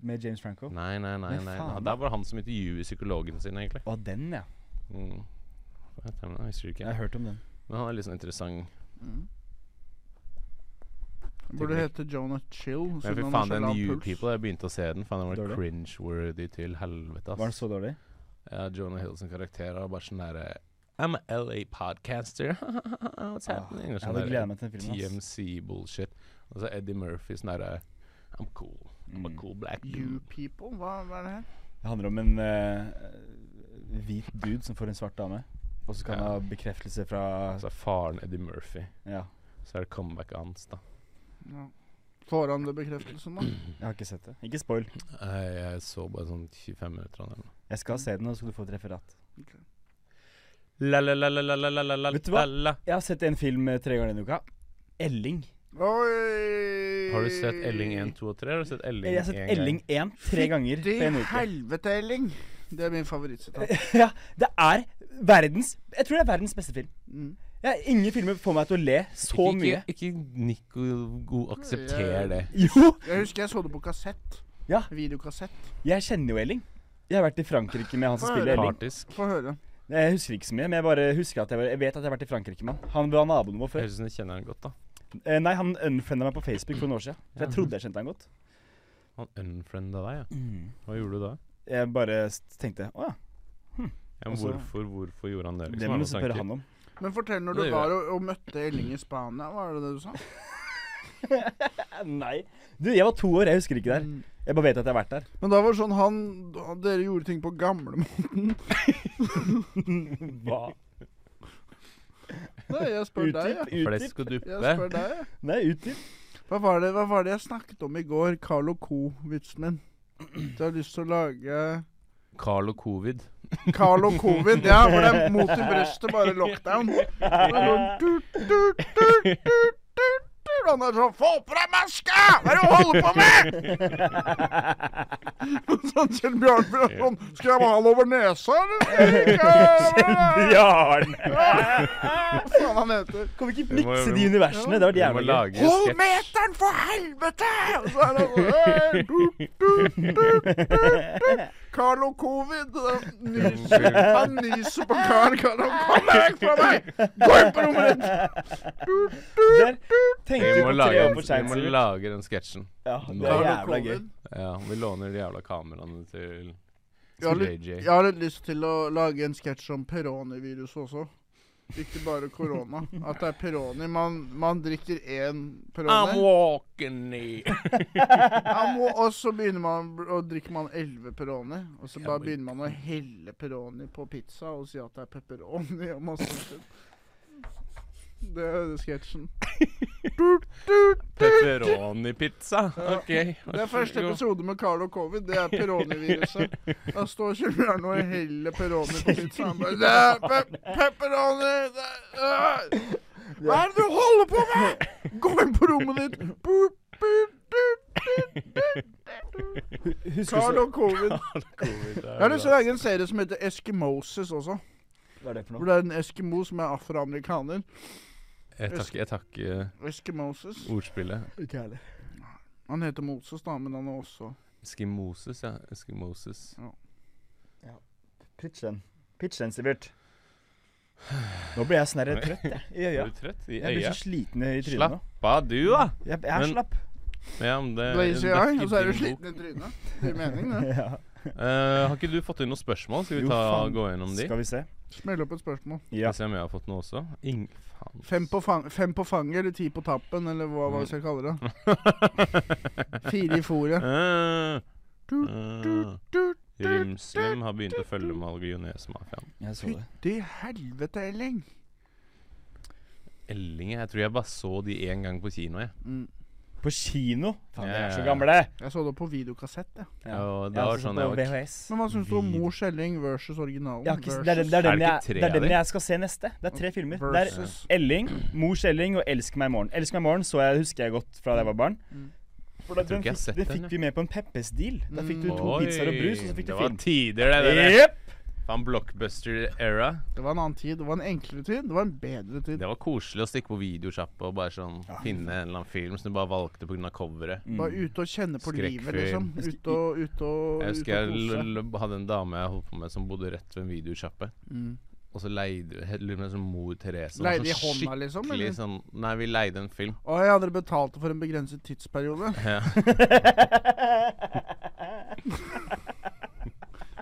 S3: Med James Franco.
S1: Nei, nei, nei.
S3: Men
S1: nei.
S3: faen,
S1: Det er bare han som intervjuer psykologen sin, egentlig.
S3: Å, den, ja.
S1: Mm. Hva heter han? Jeg husker
S3: Jeg har
S1: ikke.
S3: hørt om den.
S1: Men han er litt sånn interessant.
S2: Burde hete Jonah Chill.
S1: Men jeg
S2: siden
S1: fikk
S2: han har
S1: faen
S2: så
S1: den
S2: lav
S1: You
S2: puls.
S1: People. Jeg begynte å se den. Faen, den
S3: Dårlig.
S1: var cringe-worthy til helvete,
S3: Var den
S1: ass.
S3: så dårlig?
S1: Ja, Jonah Hill sin karakter er bare sånn derre I'm a LA podcaster. <laughs> What's
S3: Ah,
S1: happening? Og
S3: jeg
S1: sånn
S3: hadde
S1: der-
S3: gleda meg til den filmen. ass.
S1: TMC-bullshit. Og så Eddie Murphy sånn derre I'm cool. I'm a cool black
S2: You
S1: dude.
S2: people? Hva, hva er det her?
S3: Mm. Det handler om en eh, hvit dude som får en svart dame. Og så kan han
S1: Ja.
S3: ha bekreftelse fra
S1: Så er faren Eddie Altså, Murphy.
S3: Ja.
S1: Så er det comebacket hans, da.
S2: Ja. Får han det bekreftelsen,
S1: Mm.
S2: da?
S3: Jeg har ikke sett det. Ikke spoil.
S1: Nei, Jeg så bare sånn 25 minutter av den.
S3: Jeg skal se den, og så skal du få et referat.
S1: La-la-la-la-la-la-la-la
S3: Vet du hva? Jeg har sett en film eh, tre ganger denne uka. Elling.
S2: Oi!
S1: Har du sett Elling 1, 2 og 3? Har du sett Elling
S3: Jeg har sett
S1: en
S3: Elling 1 tre ganger
S2: Fytti
S3: på en uke.
S2: helvete, Elling! Det er min favorittsitat.
S3: <laughs> Ja, det er verdens Jeg tror det er verdens beste film.
S2: Mm.
S3: Jeg, ingen filmer får meg til å le så
S1: Ikke-
S3: mye.
S1: Ikke, ikke Nico God aksepter det.
S3: Jo!
S2: Jeg husker jeg så det på kassett.
S3: Ja.
S2: Videokassett.
S3: Jeg kjenner jo Elling. Jeg har vært i Frankrike med han som
S2: Hva er
S3: spiller
S2: det?
S3: Elling.
S1: Partisk.
S2: Få høre.
S3: Jeg husker ikke så mye, men jeg bare husker at jeg, var, jeg vet at jeg har vært i Frankrike med han. Han var naboen vår før.
S1: Høres ut som du kjenner han godt, da.
S3: Eh, nei, han unfrienda meg på Facebook for noen år siden. For
S1: Ja.
S3: jeg trodde jeg kjente han godt.
S1: Han unfrienda deg, ja.
S3: Mm.
S1: Hva gjorde du da?
S3: Jeg bare s- tenkte å ja,
S1: Ja, men
S3: Altså,
S1: hvorfor, hvorfor gjorde han sånn det?
S3: det må du spørre han om.
S2: Men fortell når du
S1: Det gjør
S2: var og, og møtte Elling i Spania. Hva er det det du sa?
S3: Eh, Nei. Du, jeg var to år, jeg husker ikke det her.
S2: Mm.
S3: Jeg bare vet at jeg har vært der.
S2: Men da var det sånn han Dere gjorde ting på <laughs> gamlemåten.
S3: Hva?
S2: Nei, Jeg spør deg,
S3: Utdyp,
S2: jeg.
S3: utdyp.
S1: Flesk og
S2: Jeg
S1: duppe.
S2: spør deg, jeg.
S3: Nei, utdyp.
S2: Hva var, det, hva var det jeg snakket om i går? Carl og Co.-vitsen min. Du har lyst til å lage
S1: Carl og covid.
S2: Carl og Covid. Ja, for det er mot i brøstet, bare lockdown. Og det går tut, tut, tut, tut, tut, tut. Han er sånn 'Få på deg maska! Hva er det du holder på med?' Sånn Kjell Bjørnbjørn sånn 'Skal jeg male over nesa, eller?' Hva
S3: <laughs> Bjarne!
S2: faen han heter.
S3: Kan vi ikke
S1: Vi må-
S3: mikse
S1: vi
S3: de
S1: må-
S3: universene? Det
S1: Vi
S3: var
S1: må
S3: jævlig gøy.
S1: lage en
S2: Hold
S1: sketsj.
S2: meteren, for helvete! Og så er det sånn «Hey, tut, tut, tut, tut, tut. Carlo Covid han nyser, han nyser på karen. Carlo, kom deg vekk fra meg! Gå inn på rommet ditt! Tut, tut.
S3: Der tenkte
S1: Vi
S3: du
S1: må
S3: på tre
S1: lage,
S3: år på
S1: vi må
S3: Chance.
S1: lage den sketsjen.
S3: Ja, det er
S2: Carlo
S3: jævla gøy.
S2: Covid.
S1: Ja, vi låner de jævla kameraene til
S2: Jeg har,
S1: til
S2: litt,
S1: JJ.
S2: jeg har litt lyst til å lage en sketsj om peroniviruset også. Ikke bare korona. At det er peroni. Man, man drikker én
S1: I'm
S2: peroni,
S1: walking the
S2: I'm wa- og så begynner man å drikke man elleve peroni. Og så
S1: Ja,
S2: bare
S1: men-
S2: begynner man å helle peroni på pizza og si at det er pepperoni og masse sånt. Det er sketsjen.
S1: Pepperoni-pizza. OK.
S2: Det er første episode med Carl og covid. Det er peroniviruset. Da står Kjell-Bjørn og heller peroni på pizzaen. Han bare, Det er pe pepperoni! Det er, øh. Hva er det du holder på med?! Gå inn på rommet ditt! Boop, boop, boop, boop, boop.
S3: Husker
S2: Carl
S3: du
S2: og covid. Jeg har lyst til å lage en serie som heter Eskimoses også.
S3: så Hva er det for
S2: Hvor
S3: noe?
S2: det er en eskimo som er afroamerikaner.
S1: Jeg takker, jeg takker
S2: Eskimoses.
S1: ordspillet.
S3: Ikke heller.
S2: Han heter Moses, da, men han er også
S1: Eskimoses, ja. Eskimoses.
S3: Pitch den. Pitch den, Sivert. Nå blir jeg snerre trøtt, jeg. I
S1: Er
S3: øya.
S1: du trøtt i
S3: Jeg blir
S1: øya?
S3: så sliten i trynet nå.
S1: Slapp av, du, da!
S3: Jeg, jeg er
S1: Men-
S3: slapp.
S1: Ja, men det,
S2: Blazy
S1: det er
S2: Eye.
S1: ikke
S2: Og så er du
S1: din bok.
S2: sliten i trynet. Det gir mening, det.
S3: Ja.
S1: Eh, har ikke du fått inn noen spørsmål? Skal vi
S3: Jo,
S1: ta,
S3: faen.
S1: gå gjennom de?
S3: Skal vi se.
S2: Smell opp et spørsmål.
S3: Ja.
S1: Se om jeg har fått noe også. Ing... Faen.
S2: Fem på, fang fem på fanget, eller ti på tappen, eller hva, hva vi skal kalle
S3: <laughs>
S2: det. Fire i fòret.
S1: Eh,
S2: Du,
S1: eh, Rymslim har begynt å følge maligionesmafiaen.
S3: Jeg så
S2: Fytti
S3: det.
S2: helvete, Elling!
S1: Ellinge Jeg tror jeg bare så de én gang på kino, jeg.
S2: Mm.
S3: På kino. Faen, vi er så
S1: Ja.
S3: gamle.
S2: Jeg så det på videokassett. jeg.
S3: Ja.
S1: Og det
S3: Jeg har
S1: var
S3: også
S1: sånn
S3: sett
S1: jeg
S3: på
S1: var
S3: VHS.
S2: Men hva syns du om
S1: Video-
S2: Mor Skjelling versus originalen?
S3: Jeg har ikke, det, er, den- det,
S2: Versus-
S3: er den
S1: Er det
S3: jeg,
S1: ikke
S3: det
S1: tre
S3: er den
S1: av de?
S3: jeg skal se neste. Det er tre filmer. Det er
S2: Versus.
S3: Elling, Mor Elling og Elsk meg i morgen. Elsk meg i morgen så jeg, husker jeg godt fra da jeg var barn.
S2: Mm.
S3: For da,
S1: tror
S3: den,
S1: ikke jeg har
S3: fikk,
S1: sett
S3: den
S1: den,
S3: fikk vi med på en Peppes-deal. Da fikk du to
S1: Oi,
S3: pizzaer og brus, og så fikk du
S1: Det var
S3: film.
S1: tider, det. det, det.
S3: Jepp!
S1: Faen, blockbuster-era.
S2: Det var en annen tid. Det var en enklere tid. Det var en bedre tid.
S1: Det var koselig å stikke på videosjappa og bare sånn finne en eller annen film som du bare valgte pga.
S3: Mm.
S1: coveret.
S2: Bare ute og kjenne på livet, liksom.
S1: Mm. Skrekkfilm.
S2: Ute og ute og
S1: Jeg
S2: ute
S1: husker jeg
S2: og kose.
S1: l- l- hadde en dame jeg holdt på med som bodde rett ved en videosjappe.
S2: Mm.
S1: Og så leide he- litt mer som Mor Therese.
S2: Leide
S1: Sånn
S2: i hånda, liksom,
S1: skikkelig
S2: eller?
S1: Sånn, nei, vi leide en film.
S2: Å ja, dere betalte for en begrenset tidsperiode?
S1: <laughs> Ja.
S2: <laughs>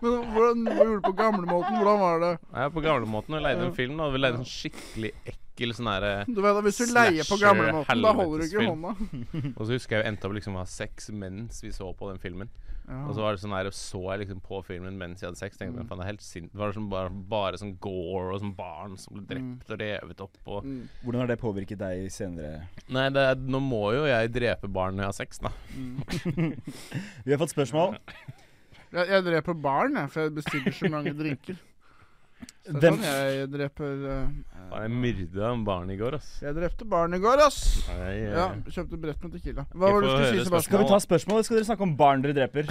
S2: Men hvordan, hva gjorde du på gamlemåten? Hvordan var det?
S1: Nei, på gamlemåten. Vi leide en film, da. Vi leide en sånn skikkelig ekkel ekkel sånn herre
S2: Du vet, at Hvis du leier på
S1: Slasher
S2: gamlemåten, da holder du ikke
S1: helvetesfilm.
S2: hånda.
S1: Og så husker jeg vi endte opp liksom å ha sex mens vi så på den filmen. Og så var det sånn her, så jeg liksom på filmen mens jeg hadde sex.
S2: Mm.
S1: Tenkte jeg, faen, det er helt sint. Det var sånn bare, bare sånn gore og sånn barn som ble
S2: Mm.
S1: drept og revet opp og
S3: Hvordan har det påvirket deg senere?
S1: Nei, det er, nå må jo jeg drepe barn når jeg har sex, da.
S3: Vi har fått spørsmål.
S2: Jeg, jeg dreper barn, jeg, for jeg bestiller så
S1: <laughs>
S2: mange drinker. Så det er
S3: Hvem-
S2: sånn jeg dreper eh,
S1: Faen, Jeg myrda en barn i går, ass.
S2: Jeg drepte barn i går, ass!
S1: Nei, eh,
S2: Ja, Kjøpte brett med Tequila. Hva
S1: Vi
S2: var det du
S1: får
S2: skulle
S1: høre
S2: si, Sebastian?
S3: Skal vi ta spørsmål, eller skal dere snakke om barn
S1: <laughs>
S3: dere dreper?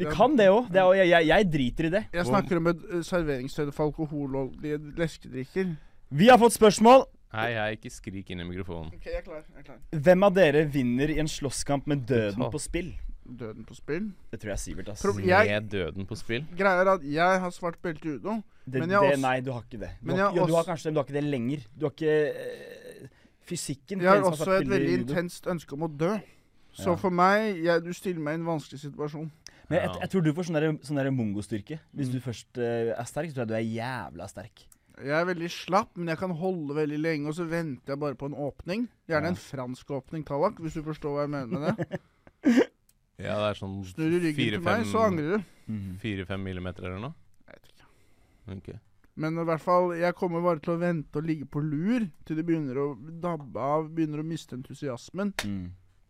S3: Vi kan det òg. Jeg, jeg, jeg driter i det.
S2: Jeg snakker om et eh, serveringssted for alkoholholdige leskedrikker.
S3: Vi har fått spørsmål.
S1: Hei, hei, ikke skrik inn i mikrofonen.
S2: Ok, jeg er klar. jeg er klar.
S3: Hvem av dere vinner i en slåsskamp med døden på spill?
S2: Døden på spill.
S3: Det tror jeg er Sivert, ass.
S2: Pro-
S3: Det,
S2: Jeg-
S1: Med døden på spill.
S2: Greia er at jeg har svart belte i judo.
S3: det,
S2: men jeg har også-
S3: nei, du har ikke det. Du
S2: Men jeg
S3: har,
S2: har
S3: jo, du har
S2: også-
S3: kanskje det, men du har ikke det lenger. Du har ikke eh, fysikken. til
S2: Jeg har
S3: en som
S2: også
S3: satt
S2: et
S3: bilder i
S2: veldig
S3: judo.
S2: intenst ønske om å dø. Så
S3: Ja.
S2: for meg jeg, Du stiller meg i en vanskelig situasjon.
S3: Men jeg,
S1: Ja.
S3: jeg tror du får sånn der, sånn der mongostyrke.
S2: Mm.
S3: Hvis du først eh, er sterk, så tror jeg du er jævla sterk.
S2: Jeg er veldig slapp, men jeg kan holde veldig lenge, og så venter jeg bare på en åpning. Gjerne en fransk åpning, Tallak, hvis du forstår hva jeg
S1: <laughs>
S2: mener med det.
S1: Ja, det er sånn
S2: Snur du ryggen til meg, så angrer du.
S1: 4-5 millimeter eller noe.
S2: Jeg vet ikke.
S1: Ok.
S2: Men i hvert fall, jeg kommer bare til å vente og ligge på lur til det begynner å dabbe av, begynner å miste entusiasmen.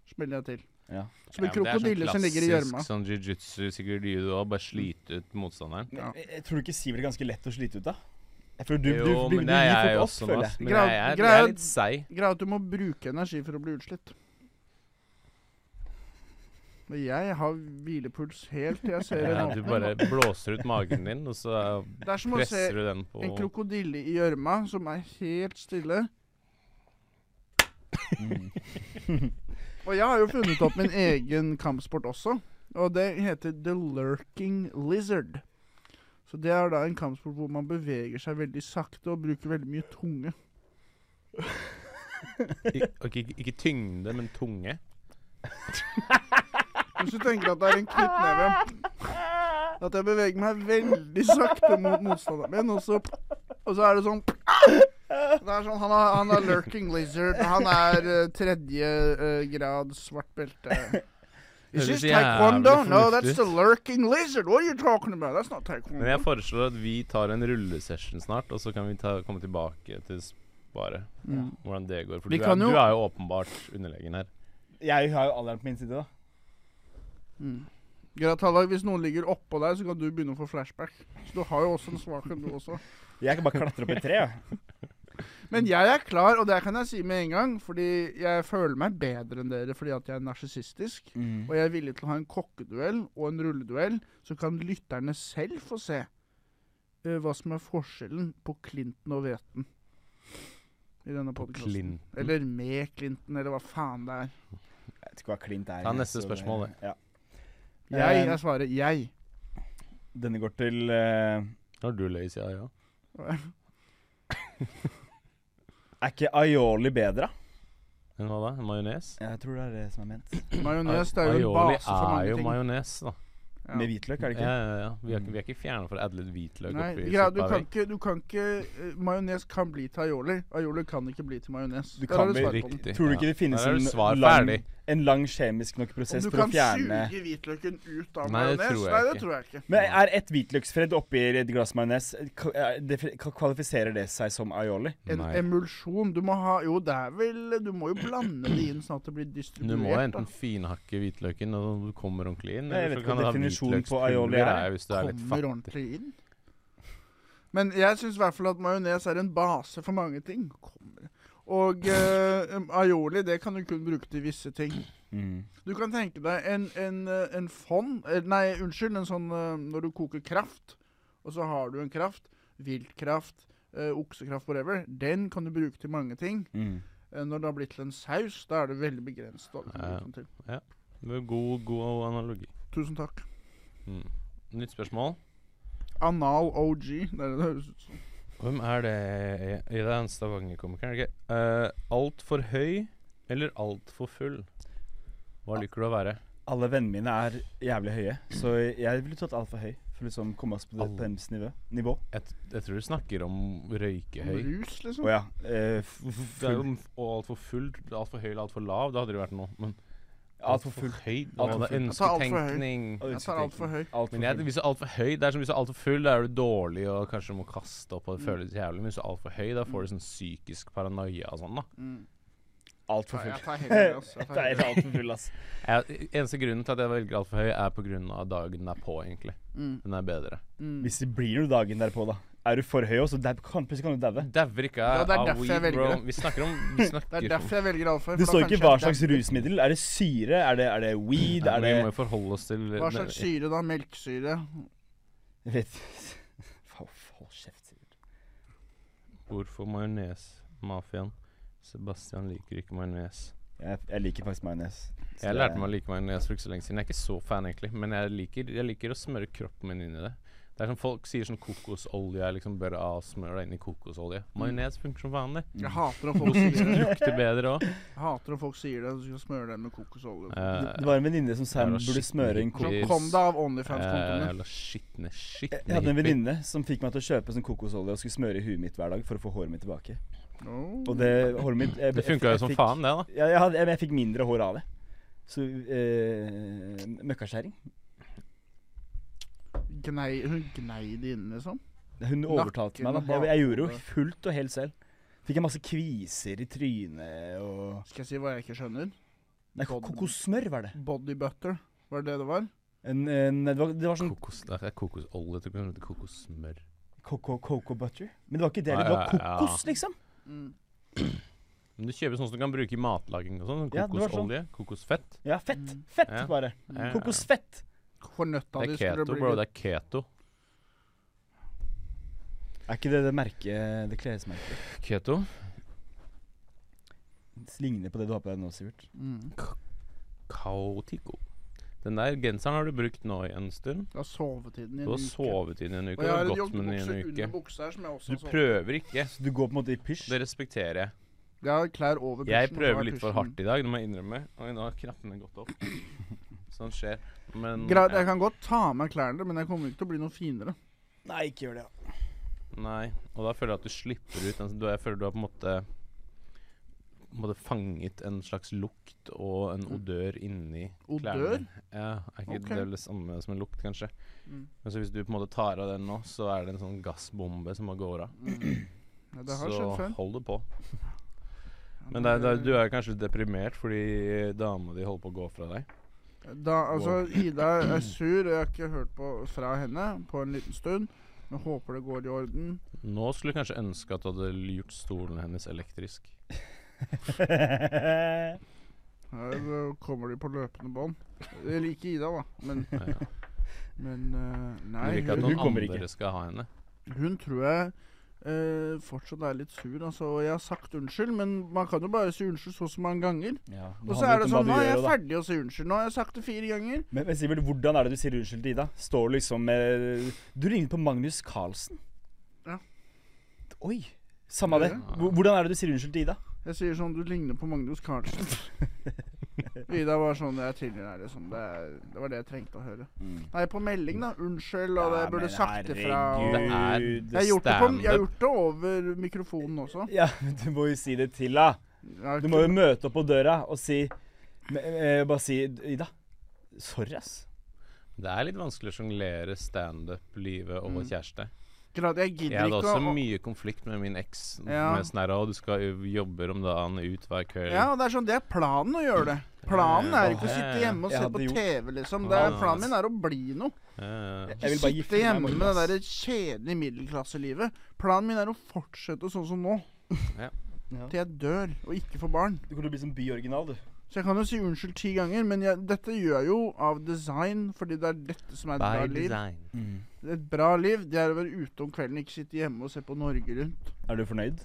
S2: Smeller jeg til.
S3: Ja.
S2: Som
S1: Ja, men det er
S2: en krokodille som ligger i gjørma.
S1: Sånn klassisk sånn jiu-jitsu, sikkert judo, og bare slite ut motstanderen.
S2: Ja.
S3: Jeg, jeg eh, tror du ikke Sivert er ganske lett å slite ut av. Jeg tror du,
S1: jo,
S3: du, du,
S1: men
S3: du
S1: det er
S3: gir
S1: jeg
S3: fort opp,
S1: også,
S3: føler
S1: ass.
S3: jeg.
S1: Men jeg er, jeg
S2: Greit-
S1: er litt seig.
S2: Greia er at du må bruke energi for å bli utslitt. Men jeg har hvilepuls helt til jeg ser
S1: Ja,
S2: en
S1: du
S2: åpning.
S1: bare blåser ut magen din, og så
S2: Det er som å se
S1: presser du den på
S2: en krokodille i gjørma som er helt stille.
S1: Mm.
S2: og jeg har jo funnet opp min egen kampsport også, og det heter The Lurking Lizard. Så det er da en kampsport hvor man beveger seg veldig sakte og bruker veldig mye tunge.
S1: Ik- ok, ikke, ikke tyngde, men tunge.
S2: Hvis du tenker at det er en knyttneve At jeg beveger meg veldig sakte mot motstanderen min, og så, og så er det sånn det er sånn, han, er, han er lurking lizard. Han er eh, tredje eh, grad svart belte. Is
S1: Høres
S2: this taekwondo?
S1: jævlig
S2: No,
S1: fornuftig
S2: that's
S1: ut.
S2: the lurking lizard. What are you talking about? That's not taekwondo.
S1: Men jeg foreslår at vi tar en rullesession snart, og så kan vi ta, komme tilbake til bare
S2: Mm.
S1: hvordan det går. For
S2: Vi
S1: du er,
S2: kan jo-
S1: du er jo åpenbart underlegen her.
S3: Jeg har jo alderen på min side, da.
S2: Mm. Greit, Hallak, hvis noen ligger oppå deg, så kan du begynne å få flashback. Så du har jo også en svakhet, du også.
S3: Jeg kan bare klatre opp i et tre. Ja.
S2: <laughs> Men jeg er klar, og det kan jeg si med en gang, fordi jeg føler meg bedre enn dere fordi at jeg er narsissistisk.
S1: Mm.
S2: Og jeg er villig til å ha en kokkeduell og en rulleduell, så kan lytterne selv få se eh, hva som er forskjellen på Clinton og Veten. I denne podkasten.
S1: Klint.
S2: Eller med Clinton, eller hva faen det er.
S3: Jeg vet ikke hva klint er.
S1: Ta
S3: jeg,
S1: neste
S3: så
S1: spørsmål,
S3: det. Ja.
S2: Jeg,
S3: Eh,
S2: jeg svarer jeg.
S3: Denne går til eh,
S1: Har du løy, sier jeg ja.
S3: Er ikke aioli bedre? da?
S1: Men hva da? En Majones?
S3: Jeg tror det er det som er ment.
S2: Majones det er jo en
S1: Aioli
S2: base for
S1: er
S2: mange
S1: jo
S2: ting.
S1: majones, da.
S2: Ja.
S3: Med hvitløk, er det
S1: Ja,
S3: ikke?
S1: ja, ja. Vi er, ikke- vi er ikke fjerne for å adle litt hvitløk
S2: Nei,
S1: oppi
S2: greia, du
S1: suppa, vi.
S2: kan ikke, du kan ikke eh, Majones kan bli til aioli. Aioli kan ikke bli til majones.
S3: Du
S2: Der
S3: kan
S2: har
S3: bli
S2: svar på den.
S1: Riktig.
S3: Tror du
S1: ja.
S3: ikke det finnes
S1: Der er
S3: en
S1: du svar
S3: lang,
S1: ferdig.
S3: en lang kjemisk nok
S2: Om
S3: prosess
S2: du
S3: for å
S2: kan
S3: fjerne
S2: suge hvitløken ut av
S1: Nei, det tror
S2: majones?
S1: jeg
S2: Nei, det
S1: ikke.
S2: tror jeg ikke.
S3: Men er ett hvitløksfredd oppi et glass majones k- er det- Kvalifiserer det seg som aioli?
S2: En
S1: Nei.
S2: emulsjon Du må ha Jo, det er vel Du må jo blande det inn sånn at det blir
S1: Du må
S2: distribuert.
S1: enten finhakke hvitløken og du kommer ordentlig inn,
S3: Nei, jeg
S1: eller så
S3: vet ikke
S1: kan du
S3: hva
S1: ha
S3: definisjonen på aioli
S1: hvitløkspulver
S3: er.
S1: er hvis du
S2: da.
S1: er litt
S2: Kommer
S1: fattig.
S2: ordentlig inn. Men jeg syns i hvert fall at majones er en base for mange ting. Kommer. Og eh, em, aioli, det kan du kun bruke til visse ting.
S1: Mm.
S2: Du kan tenke deg en, en, eh, en fond eh, Nei, unnskyld, en sånn eh, når du koker kraft, og så har du en kraft. Viltkraft, eh, oksekraft, whatever. Den kan du bruke til mange ting.
S1: Mm.
S2: Eh, Når det har blitt til en saus, da er det veldig begrenset. hva du kan
S1: Ja.
S2: bruke den til.
S1: Det er God, god analogi.
S2: Tusen takk.
S1: Mm. Nytt spørsmål.
S2: Anal OG. Det er det det høres ut som.
S1: Hvem er det I det er en Stavanger-komiker, er det ikke? Uh, altfor høy eller altfor full?
S2: Ah.
S1: Hva liker du å være?
S3: Alle vennene mine er jævlig høye, så jeg ville tatt altfor høy. For å liksom komme oss på, det,
S1: Alle.
S3: på deres nivå. nivå.
S1: Jeg, t- jeg tror du snakker om røykehøy.
S2: Rus, liksom.
S3: Å ja. eh, f- f-
S1: Det er jo
S3: full-
S1: m- og altfor full, altfor høy eller altfor lav. Det hadde det vært noe. Men
S3: alt for full.
S1: høy
S3: Alt for
S1: Det er
S3: full.
S2: Jeg tar alt for høy.
S1: ønsketenkning.
S2: Jeg tar alt for høy.
S3: Alt for
S1: Men jeg,
S3: full.
S1: hvis du er altfor høy, det er som hvis du er altfor full, da er du dårlig og kanskje må kaste opp og
S2: Mm.
S1: det føles jævlig. Men hvis du er altfor høy, da får du sånn psykisk paranoia og sånn, da.
S2: Mm.
S3: Alt for
S2: Nei,
S3: full.
S2: Jeg
S3: <laughs>
S2: tar heller ass. Jeg
S3: Det
S2: tar
S3: er
S2: heller.
S3: alt for full, ass.
S1: Jeg, eneste grunnen til at jeg velger altfor høy, er på grunn av dagen den er på, egentlig.
S2: Mm.
S1: Den er bedre.
S2: Mm.
S3: Hvis det blir noe dagen derpå, da. Er du for høy også, dab, kan, plutselig kan du daue.
S1: Dauer ikke
S2: Ja, det er
S1: av
S2: derfor jeg
S1: weed, bro.
S2: velger det.
S1: Vi snakker om Vi
S2: <laughs> Det er
S1: snakker om
S2: derfor jeg velger alfa.
S3: Det står ikke hva slags rusmiddel. Er det syre? Er det, er det weed?
S1: Nei,
S3: Er det
S1: Vi må jo forholde oss til
S2: Hva slags syre, da? Melkesyre?
S3: Jeg vet Faen, Hold kjeft, Sivert.
S1: Hvorfor majones-mafiaen? Sebastian liker ikke majones.
S3: Jeg, jeg liker faktisk majones. Så
S1: Jeg lærte
S3: det-
S1: meg å like majones for ikke så lenge siden. Jeg er ikke så fan, egentlig, men jeg liker, jeg liker å smøre kroppen min inn i det. Det er som Folk sier sånn kokosolje er liksom bare av smør deg inn i kokosolje.
S3: Mm.
S1: Majones funker som
S3: <laughs>
S1: vanlig.
S2: Jeg hater når folk sier det.
S1: Lukter bedre òg.
S2: Jeg hater når folk sier det. Du skal smøre deg med kokosolje.
S1: Eh,
S3: Det, det var en venninne som sa
S1: Det
S3: hun
S1: var
S3: burde smøre en
S1: skikkelig
S3: kokos.
S1: hippie.
S2: Så kom deg av OnlyFans-kontoen din.
S1: eh, Jævla skitne, skitne
S3: Jeg hadde
S1: hippie.
S3: en venninne som fikk meg til å kjøpe sånn kokosolje og skulle smøre i huet mitt hver dag for å få håret mitt tilbake.
S2: Oh.
S3: Og det håret mitt jeg-
S1: Det
S3: jeg-
S1: funka
S3: jeg
S1: jo som
S3: fikk-
S1: faen, det, da.
S3: Ja, jeg, hadde, jeg, jeg fikk mindre hår av det. Så eh, møkkaskjæring.
S2: Gnei, <laughs> hun gnei det inn, liksom.
S3: Hun overtalte meg, da. Jeg, jeg gjorde jo fullt og helt selv. Fikk jeg masse kviser i trynet og
S2: Skal jeg si hva jeg ikke skjønner?
S3: Nei, ko- kokossmør var det.
S2: Body butter, var det det det var?
S3: En, en, det, var, det var sånn
S1: Kokos, det er kokosolje. Jeg tror ikke det heter kokossmør.
S3: coco, coco butter. Men det var ikke det.
S1: Ja,
S3: Det var
S1: ja, ja.
S3: kokos, liksom.
S2: Mm.
S1: Men du kjøper sånn som du kan bruke i matlaging og sånn. sånn
S3: Ja, det var sånn.
S1: Kokosolje, kokosfett.
S3: Ja, fett.
S2: Mm.
S3: Fett,
S1: Ja.
S3: bare.
S1: Ja, ja.
S3: Kokosfett.
S2: For nøtta
S1: Det
S2: di
S1: er
S2: skulle
S1: keto,
S2: bli
S1: bro.
S2: litt
S1: Det er keto.
S3: Er ikke det det merket, det klesmerket?
S1: Keto?
S3: Det ligner på det du har på deg nå, Sivert.
S2: mm.
S1: Kaotico. Den der genseren har du brukt nå i en stund.
S2: Det er
S1: Du
S2: sovetiden i en
S1: har
S2: uke.
S1: sovet inn i en uke,
S2: Og
S1: du
S2: jeg har
S1: har
S2: en
S1: gått med den i en
S2: joggebukse
S1: uke.
S2: under sånn. buksa her som jeg også
S1: Du
S2: har sovet.
S1: prøver ikke.
S3: Så du går på en måte i pysj?
S1: Det respekterer jeg.
S2: Jeg har klær over pysjen.
S1: Jeg
S2: og så har
S1: prøver
S2: jeg
S1: litt for
S2: pysjen.
S1: hardt i dag, det må jeg innrømme. Oi, nå har knappene gått
S2: <laughs>
S1: opp. Sånn skjer. Men
S2: Greit,
S1: ja.
S2: jeg kan godt ta av meg klærne, men jeg kommer ikke til å bli noe finere.
S3: Nei, ikke gjør det. ja.
S1: Nei, og da føler jeg at du slipper ut den, du, Jeg føler du har på en måte på en måte fanget en slags lukt og en odør inni
S2: Mm. Odør?
S1: klærne. Ja, er ikke
S2: Ok.
S1: det vel det samme som en lukt, kanskje?
S2: Mm.
S1: Men så hvis du på en måte tar av den nå, så er det en sånn gassbombe som bare går av.
S2: Ja, det har skjedd
S1: Så
S2: før.
S1: hold det
S2: <laughs>
S1: på. Men det, er- det, er- du er kanskje deprimert fordi dama di holder på å gå fra deg?
S2: Da, altså, Ida er sur, og jeg har ikke hørt på, fra henne på en liten stund. Men håper det går i orden.
S1: Nå skulle du kanskje ønske at du hadde gjort stolen hennes elektrisk.
S2: Her
S1: <laughs>
S2: eh, kommer de på løpende bånd. Jeg liker Ida, da, men,
S1: Ja.
S2: <laughs> men eh,
S1: Du
S2: Nei,
S1: vil ikke at
S3: hun-
S1: noen
S3: hun kommer ikke.
S1: andre skal ha henne.
S2: Hun tror jeg eh, fortsatt er litt sur. Altså, og jeg har sagt unnskyld, men man kan jo bare si unnskyld så og så mange ganger.
S3: <laughs> Ja,
S2: Og så er det sånn, nå er jeg
S3: ferdig.
S2: ferdig å si unnskyld. Nå har jeg sagt det fire ganger.
S3: Men, men Sivert, hvordan er det du sier unnskyld til Ida? Står du liksom eh, Du ringer på Magnus Carlsen.
S2: Ja.
S3: Oi. Samme av det.
S2: Ja.
S3: Hvor- Hvordan er det du sier unnskyld til Ida?
S2: Jeg sier sånn, du ligner på Magnus
S3: <laughs>
S2: Carlsen. Ida var sånn jeg tidligere er, liksom. Det, er- det var det jeg trengte å høre. Nei, på melding, da. Unnskyld, og det
S3: Mm. Ja,
S2: jeg burde
S3: men
S2: sagt ifra. og-
S3: herregud.
S1: Det
S2: Jeg har gjort det, på, jeg har
S1: Standup.
S2: gjort det over mikrofonen også.
S3: Ja, <laughs> men du må jo si det til da
S2: Jeg har
S3: Du må jo
S2: ikke-
S3: møte opp på døra og si me- eh, Bare si Ida. Sorry, ass.
S1: Det er litt vanskelig å sjonglere standup, livet og kjæreste.
S2: Grad, jeg gidder
S1: Jeg hadde
S2: ikke
S1: også
S2: Mm. å
S1: mye konflikt med min eks.
S2: Ja.
S1: Med sånn her, «Å, du skal jo jobbe om dagen ut hver kveld.
S2: Ja, og det er sånn, det er planen å gjøre det. Planen er ikke å
S1: Ja, ja,
S2: sitte
S1: ja.
S2: hjemme og
S3: Jeg
S2: se
S3: hadde
S2: på
S3: gjort-
S2: TV, liksom. Det
S1: Ja,
S2: er,
S1: ja,
S2: planen min
S1: ja.
S2: er å bli noe.
S1: Eh,
S3: Jeg vil bare gifte
S2: Sitte
S3: meg
S2: hjemme
S3: med
S2: med det
S3: Jonas.
S2: der kjedelige middelklasselivet. Planen min er å fortsette sånn som nå.
S1: Ja.
S3: Ja.
S2: Til jeg dør og ikke får barn.
S3: Du kommer til å bli som byoriginal, du.
S2: Så jeg kan jo si unnskyld ti ganger, men jeg, dette gjør jeg jo av design, fordi det er dette som er et bra Mm.
S1: By
S2: liv.
S1: design.
S2: Et bra liv det er å være ute om kvelden, ikke sitte hjemme og se på Norge Rundt.
S3: Er du fornøyd?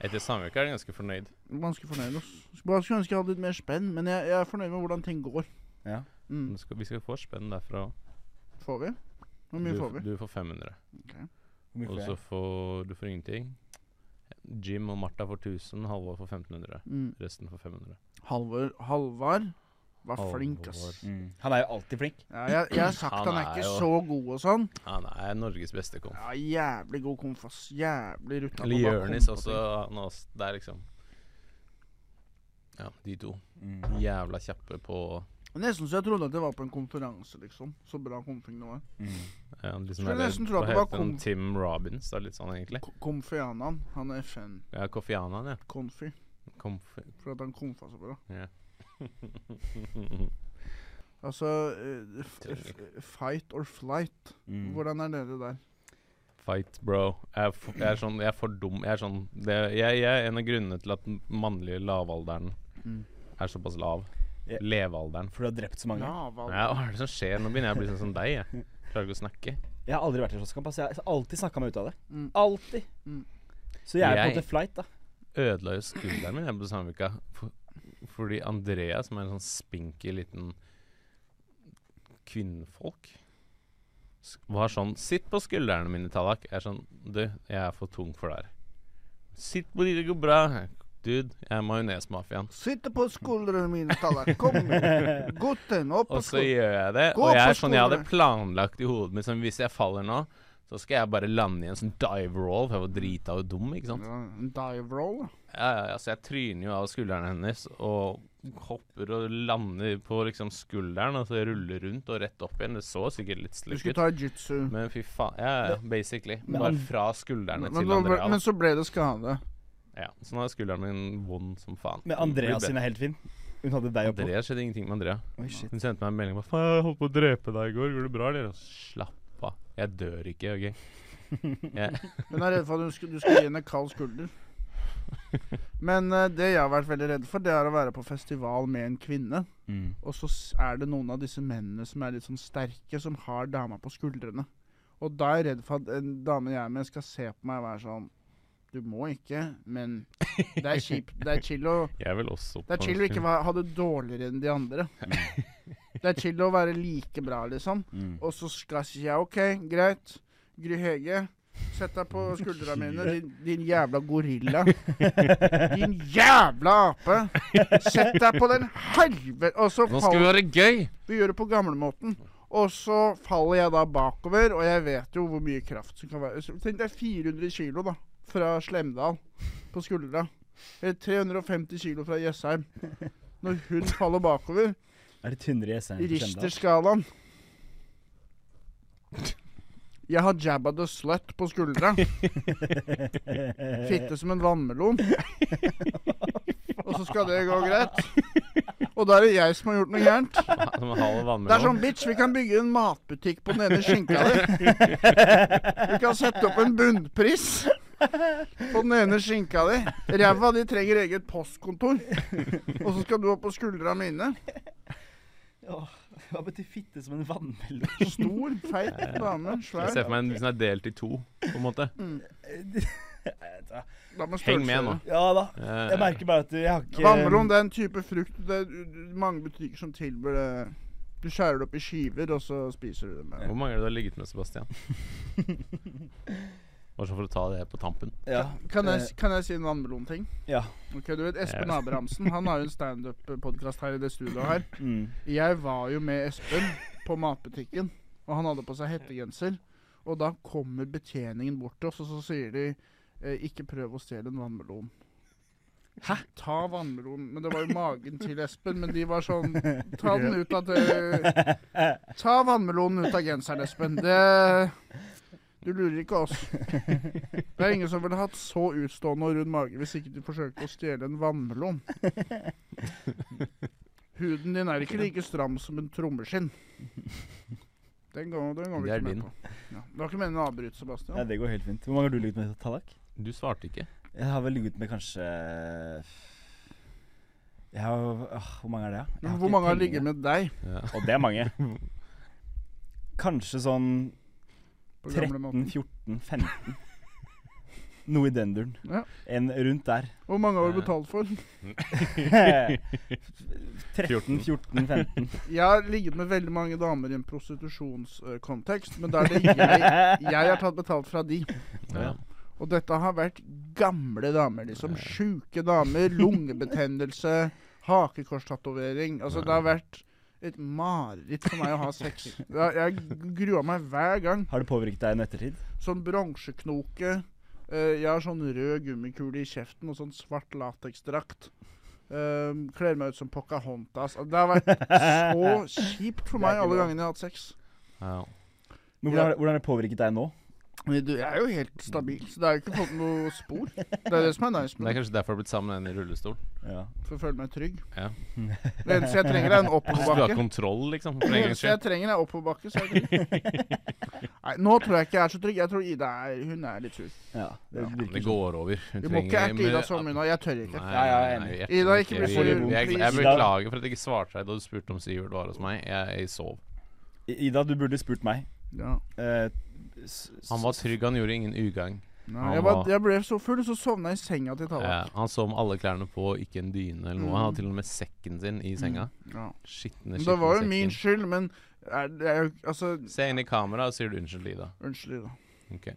S1: Etter samvirket er jeg ganske fornøyd.
S2: Ganske fornøyd. ass. Skulle skulle ønske jeg hadde litt mer spenn, men jeg, jeg er fornøyd med hvordan ting går.
S3: Ja.
S2: Mm.
S1: Du skal, vi skal få spenn derfra.
S2: Får vi? Hvor mye
S1: du,
S2: får vi?
S1: Du får 500.
S3: Hvor mye
S1: Og
S3: får
S1: så
S3: jeg?
S1: får du får ingenting. Jim og Martha får 1000, Halvor får 1500.
S2: Mm.
S1: Resten får 500.
S2: Halvor, Halvar Var flink, ass.
S1: Alvor.
S3: Mm. Han er jo alltid flink.
S2: Ja, jeg, jeg har sagt
S1: Han
S2: han er
S1: er
S2: ikke
S1: jo-
S2: så god og sånn.
S1: Han er Ah, Norges beste komp.
S2: Ja, jævlig god komf, ass. Jævlig rutta. på altså.
S1: Eller
S2: bare
S1: Jonis
S2: komp og
S1: også.
S2: ting.
S1: Han er også det er liksom Ja, de to.
S3: Mm.
S1: Jævla kjappe på
S2: Nesten så jeg trodde at jeg var på en konferanse, liksom. Så bra komfing det var.
S3: Mm.
S1: ja, liksom
S2: Skulle
S1: er det-
S2: nesten tro at
S1: hva
S2: det var
S1: heter han?
S2: kom-
S1: Tim Robins. Det er litt sånn, egentlig.
S2: Ko- Komfianan. Han er FN.
S1: Ja, Kofianan, ja.
S2: Konfi.
S1: Komf
S2: For at han komfa så bra.
S1: ja.
S2: Altså eh, f f Fight or flight.
S3: Mm.
S2: Hvordan er dere der?
S1: Fight, bro. Jeg er, for, jeg er sånn Jeg er for dum. Jeg er sånn det, jeg, jeg er en av grunnene til at den mannlige lavalderen
S2: Mm.
S1: er såpass lav.
S3: Ja.
S1: Levealderen.
S3: For du har drept så mange.
S2: Lavalder.
S1: Ja, hva er det som skjer? Nå begynner jeg å bli sånn som deg. Jeg klarer ikke å snakke.
S3: Jeg har aldri vært i slåsskamp. Altså, jeg har alltid snakka meg ut av det.
S2: Mm.
S3: Alltid.
S2: Mm.
S3: Så jeg er på en
S1: Jeg-
S3: måte flight, da.
S1: Ødela jo skulderen min her på Sandvika for, fordi Andrea, som er en sånn spinky liten kvinnfolk s- var sånn 'Sitt på skuldrene mine, Tallak.' Jeg er sånn 'Du, jeg er for tung for det her.' 'Sitt på de, det går bra.' Dude, jeg er majonesmafiaen.
S2: Sitte på skuldrene mine, Tallak.
S1: <laughs>
S2: Kom, gutten. Opp på
S1: Og så
S2: skuldrene.
S1: gjør jeg det.
S2: Gå
S1: og jeg
S2: på
S1: er sånn, jeg hadde
S2: skolen.
S1: planlagt i hodet mitt sånn, hvis jeg faller nå, så skal jeg bare lande i en sånn dive roll, for jeg var drita og dum, ikke sant.
S2: Ja, en dive roll.
S1: Ja, ja, ja, så jeg tryner jo av skulderen hennes og hopper og lander på liksom skulderen, og så ruller rundt og rett opp igjen. Det så sikkert litt
S2: Du
S1: slick ut.
S2: skulle ta jitsu. Men,
S1: Men fy faen. Ja, ja, ja, basically. Bare fra skuldrene
S2: men,
S1: til Andrea.
S2: men
S1: da.
S2: så ble det skade.
S1: Ja, så nå er skulderen min vond som faen.
S3: Men Andrea sin er helt fin. Hun hadde deg oppå.
S1: Andrea skjedde ingenting med Andrea.
S3: Oi, shit.
S1: Hun sendte meg en melding om at jeg holdt på å drepe deg i går. Går det bra, eller? Slapp av. Jeg dør ikke, OK? Jeg,
S2: Hun er redd for at hun skulle, du skulle gi henne kald skulder. Men eh, det jeg har vært veldig redd for, det er å være på festival med en kvinne.
S3: Mm.
S2: Og så s- er det noen av disse mennene som er litt sånn sterke, som har dama på skuldrene. Og da er jeg redd for at en dame jeg er med, skal se på meg og være sånn Du må ikke, men det er kjipt. Det er chill å
S1: jeg vil også
S2: Det er chill å
S1: <laughs>
S2: ikke va- ha det dårligere enn de andre.
S1: Mm.
S2: <laughs> Det er chill å være like bra, liksom.
S3: Mm.
S2: Og så skal jeg si ja, OK, greit. Gry Hege, sett deg på
S1: <laughs>
S2: skuldra mine, din, din jævla gorilla. Din jævla ape! Sett deg på den helvete Og så
S1: Nå skal vi
S2: faller
S1: være gøy!
S2: Vi gjør det på gamlemåten. Og så faller jeg da bakover, og jeg vet jo hvor mye kraft som kan være. Så Tenk deg 400 kilo, da. Fra Slemdal på skuldra. Eller 350 kilo fra Jessheim. Når hun faller bakover
S3: Er det tynnere i SN?
S2: i Richter-skalaen. Jeg har jabba the slut på skuldra. Fitte som en vannmelon. Og så skal det gå greit. Og da er det jeg som har gjort noe gærent.
S1: Ha- Som en halv
S2: Det er
S1: vannmelon.
S2: sånn, bitch, vi kan bygge en matbutikk på den ene skinka di. Vi kan sette opp en bunnpris på den ene skinka di. Ræva di trenger eget postkontor. Og så skal du opp på skuldra mine.
S3: Hva betyr fitte som en vannmelon?
S2: Stor, feit dame.
S1: Jeg
S2: Svær.
S1: ser for meg en som er delt i to, på en måte.
S2: Mm. Dame med
S1: Heng med nå.
S2: størrelse.
S3: <laughs> Ja da.
S1: Eh,
S3: Jeg merker bare at jeg har ikke
S2: Vannmelon det er en type frukt. Det er u- u- mange butikker som tilbyr det. Du skjærer det opp i skiver, og så spiser du det med.
S1: Hvor mange er det du har ligget med,
S2: <laughs>
S1: Sebastian? Bare sånn for å ta det på tampen.
S3: Ja.
S2: Kan jeg, s- kan jeg si en vannmelonting?
S3: ja.
S2: Ok, du vet Espen Abrahamsen han har jo en standup-podkast her i det studioet her.
S3: Mm.
S2: Jeg var jo med Espen på matbutikken, og han hadde på seg hettegenser. Og da kommer betjeningen bort til oss, og så sier de eh, 'ikke prøv å stjele en vannmelon'. Hæ? Ta vannmelonen. Men det var jo magen til Espen, men de var
S1: <laughs>
S2: sånn Ta den ut av det Ta vannmelonen ut av genseren, Espen. Det Du lurer ikke oss. Det er ingen som ville hatt så utstående og rund mage hvis ikke du forsøkte å stjele en vannmelon. Huden din er ikke like stram som en trommeskinn. Den går, den går vi
S1: Det er
S2: ikke
S1: din.
S2: med på. Ja. Det var ikke meningen å avbryte,
S3: ja,
S2: Sebastian.
S3: det går helt fint. Hvor mange har du ligget med, Tallak?
S1: Du svarte ikke.
S3: Jeg har vel ligget med kanskje Jeg har åh, Hvor mange er det, da? Jeg
S2: Men
S3: har
S2: hvor
S3: ikke
S2: mange har
S3: telling,
S2: ligget med deg
S1: Ja.
S3: Og det er mange. <laughs> Kanskje sånn
S2: på
S3: 13,
S2: gamlemåten?
S3: 14, 15. Noe i den duren.
S2: Ja.
S3: En rundt der. <laughs>
S2: Hvor mange har du betalt for?
S3: 13, 14, 15.
S2: Jeg har ligget med veldig mange damer i en prostitusjonskontekst, men da er det jeg Jeg har tatt betalt fra de.
S1: Ja.
S2: Og dette har vært gamle damer, liksom. Sjuke damer, lungebetennelse, hakekorstatovering Altså, det har vært et mareritt for meg å ha sex. Det har- Jeg grua meg hver gang.
S3: Har det påvirket deg i ettertid?
S2: Sånn bronseknoke. eh, jeg har sånn rød gummikule i kjeften og sånn svart lateksdrakt. Um, kler meg ut som Pocahontas. Altså, Det har vært så <laughs> kjipt for
S3: Det er
S2: meg
S3: ikke
S2: alle
S3: bra.
S2: gangene jeg har hatt sex.
S1: Ja.
S2: Ja.
S3: Men hvordan, har det- hvordan har det påvirket deg nå?
S2: Men du, jeg er jo helt Mm. stabil, så det har jo ikke fått noe spor. Det er det som er nice
S1: Det er
S2: med det,
S1: kanskje derfor jeg har blitt sammen med en i rullestol.
S3: Ja.
S2: for å føle meg trygg.
S1: Ja.
S2: Det eneste jeg
S1: <laughs>
S2: trenger, er
S1: Så
S2: en
S1: du har
S2: oppoverbakke.
S1: kontroll, liksom. For
S2: Det
S1: en gangs
S2: eneste jeg
S1: skyld.
S2: trenger, er oppoverbakke. så jeg kan- Nei, nå tror jeg ikke jeg er så trygg. Jeg tror Ida er, hun er litt sur.
S3: ja det
S1: Ja, men det
S3: virker sånn.
S1: går over. Hun
S2: Vi må ikke
S1: trenger-
S2: erte
S1: men-
S2: Ida så mye nå. Jeg tør ikke.
S1: Nei,
S3: Ja, ja, jeg er
S1: nei,
S3: enig.
S1: jeg vet
S2: Ida,
S1: ikke.
S2: ikke bli
S1: Vi-
S2: sur,
S1: Jeg, jeg,
S2: please.
S1: beklager for at jeg ikke svarte deg da du spurte om Sivert var hos meg. Jeg, jeg sov.
S3: Ida, du burde spurt meg.
S2: Ja.
S3: Eh,
S1: Han var trygg, han gjorde ingen ugagn.
S2: Nei,
S1: Han
S2: jeg, var,
S1: var-
S2: jeg ble så full, så sovna jeg i senga til Tallak.
S1: Eh, han så med alle klærne på, ikke en dyne eller noe. Han hadde til og med sekken sin i senga.
S2: Ja.
S1: Skitne,
S2: Mm. Men
S1: skitne
S2: Det var jo min
S1: sekken.
S2: skyld, men er, det er jo Altså,
S1: Se inn i kamera og sier du unnskyld, Ida.
S2: unnskyld, Ida.
S1: Ok.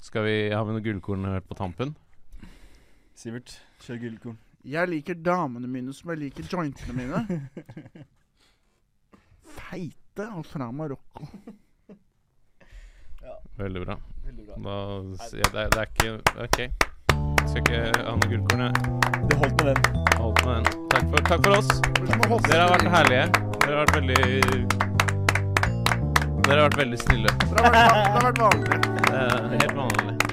S1: Skal vi, har vi noen gullkorn hørt på tampen?
S3: Sivert, kjør gullkorn.
S2: Jeg liker damene mine som jeg liker jointene mine. Feite og fra Marokko.
S1: Veldig bra.
S3: Veldig bra.
S1: Da, s- ja, det, er- det er ikke OK. Skal ikke ha noe gullkorn, jeg.
S3: Det holdt med den.
S1: Holdt med den. Takk for, takk for oss. Dere har vært herlige. Dere har vært veldig Dere har vært veldig snille.
S2: Det har vært, det har vært vanlig.
S1: Eh, helt vanlig.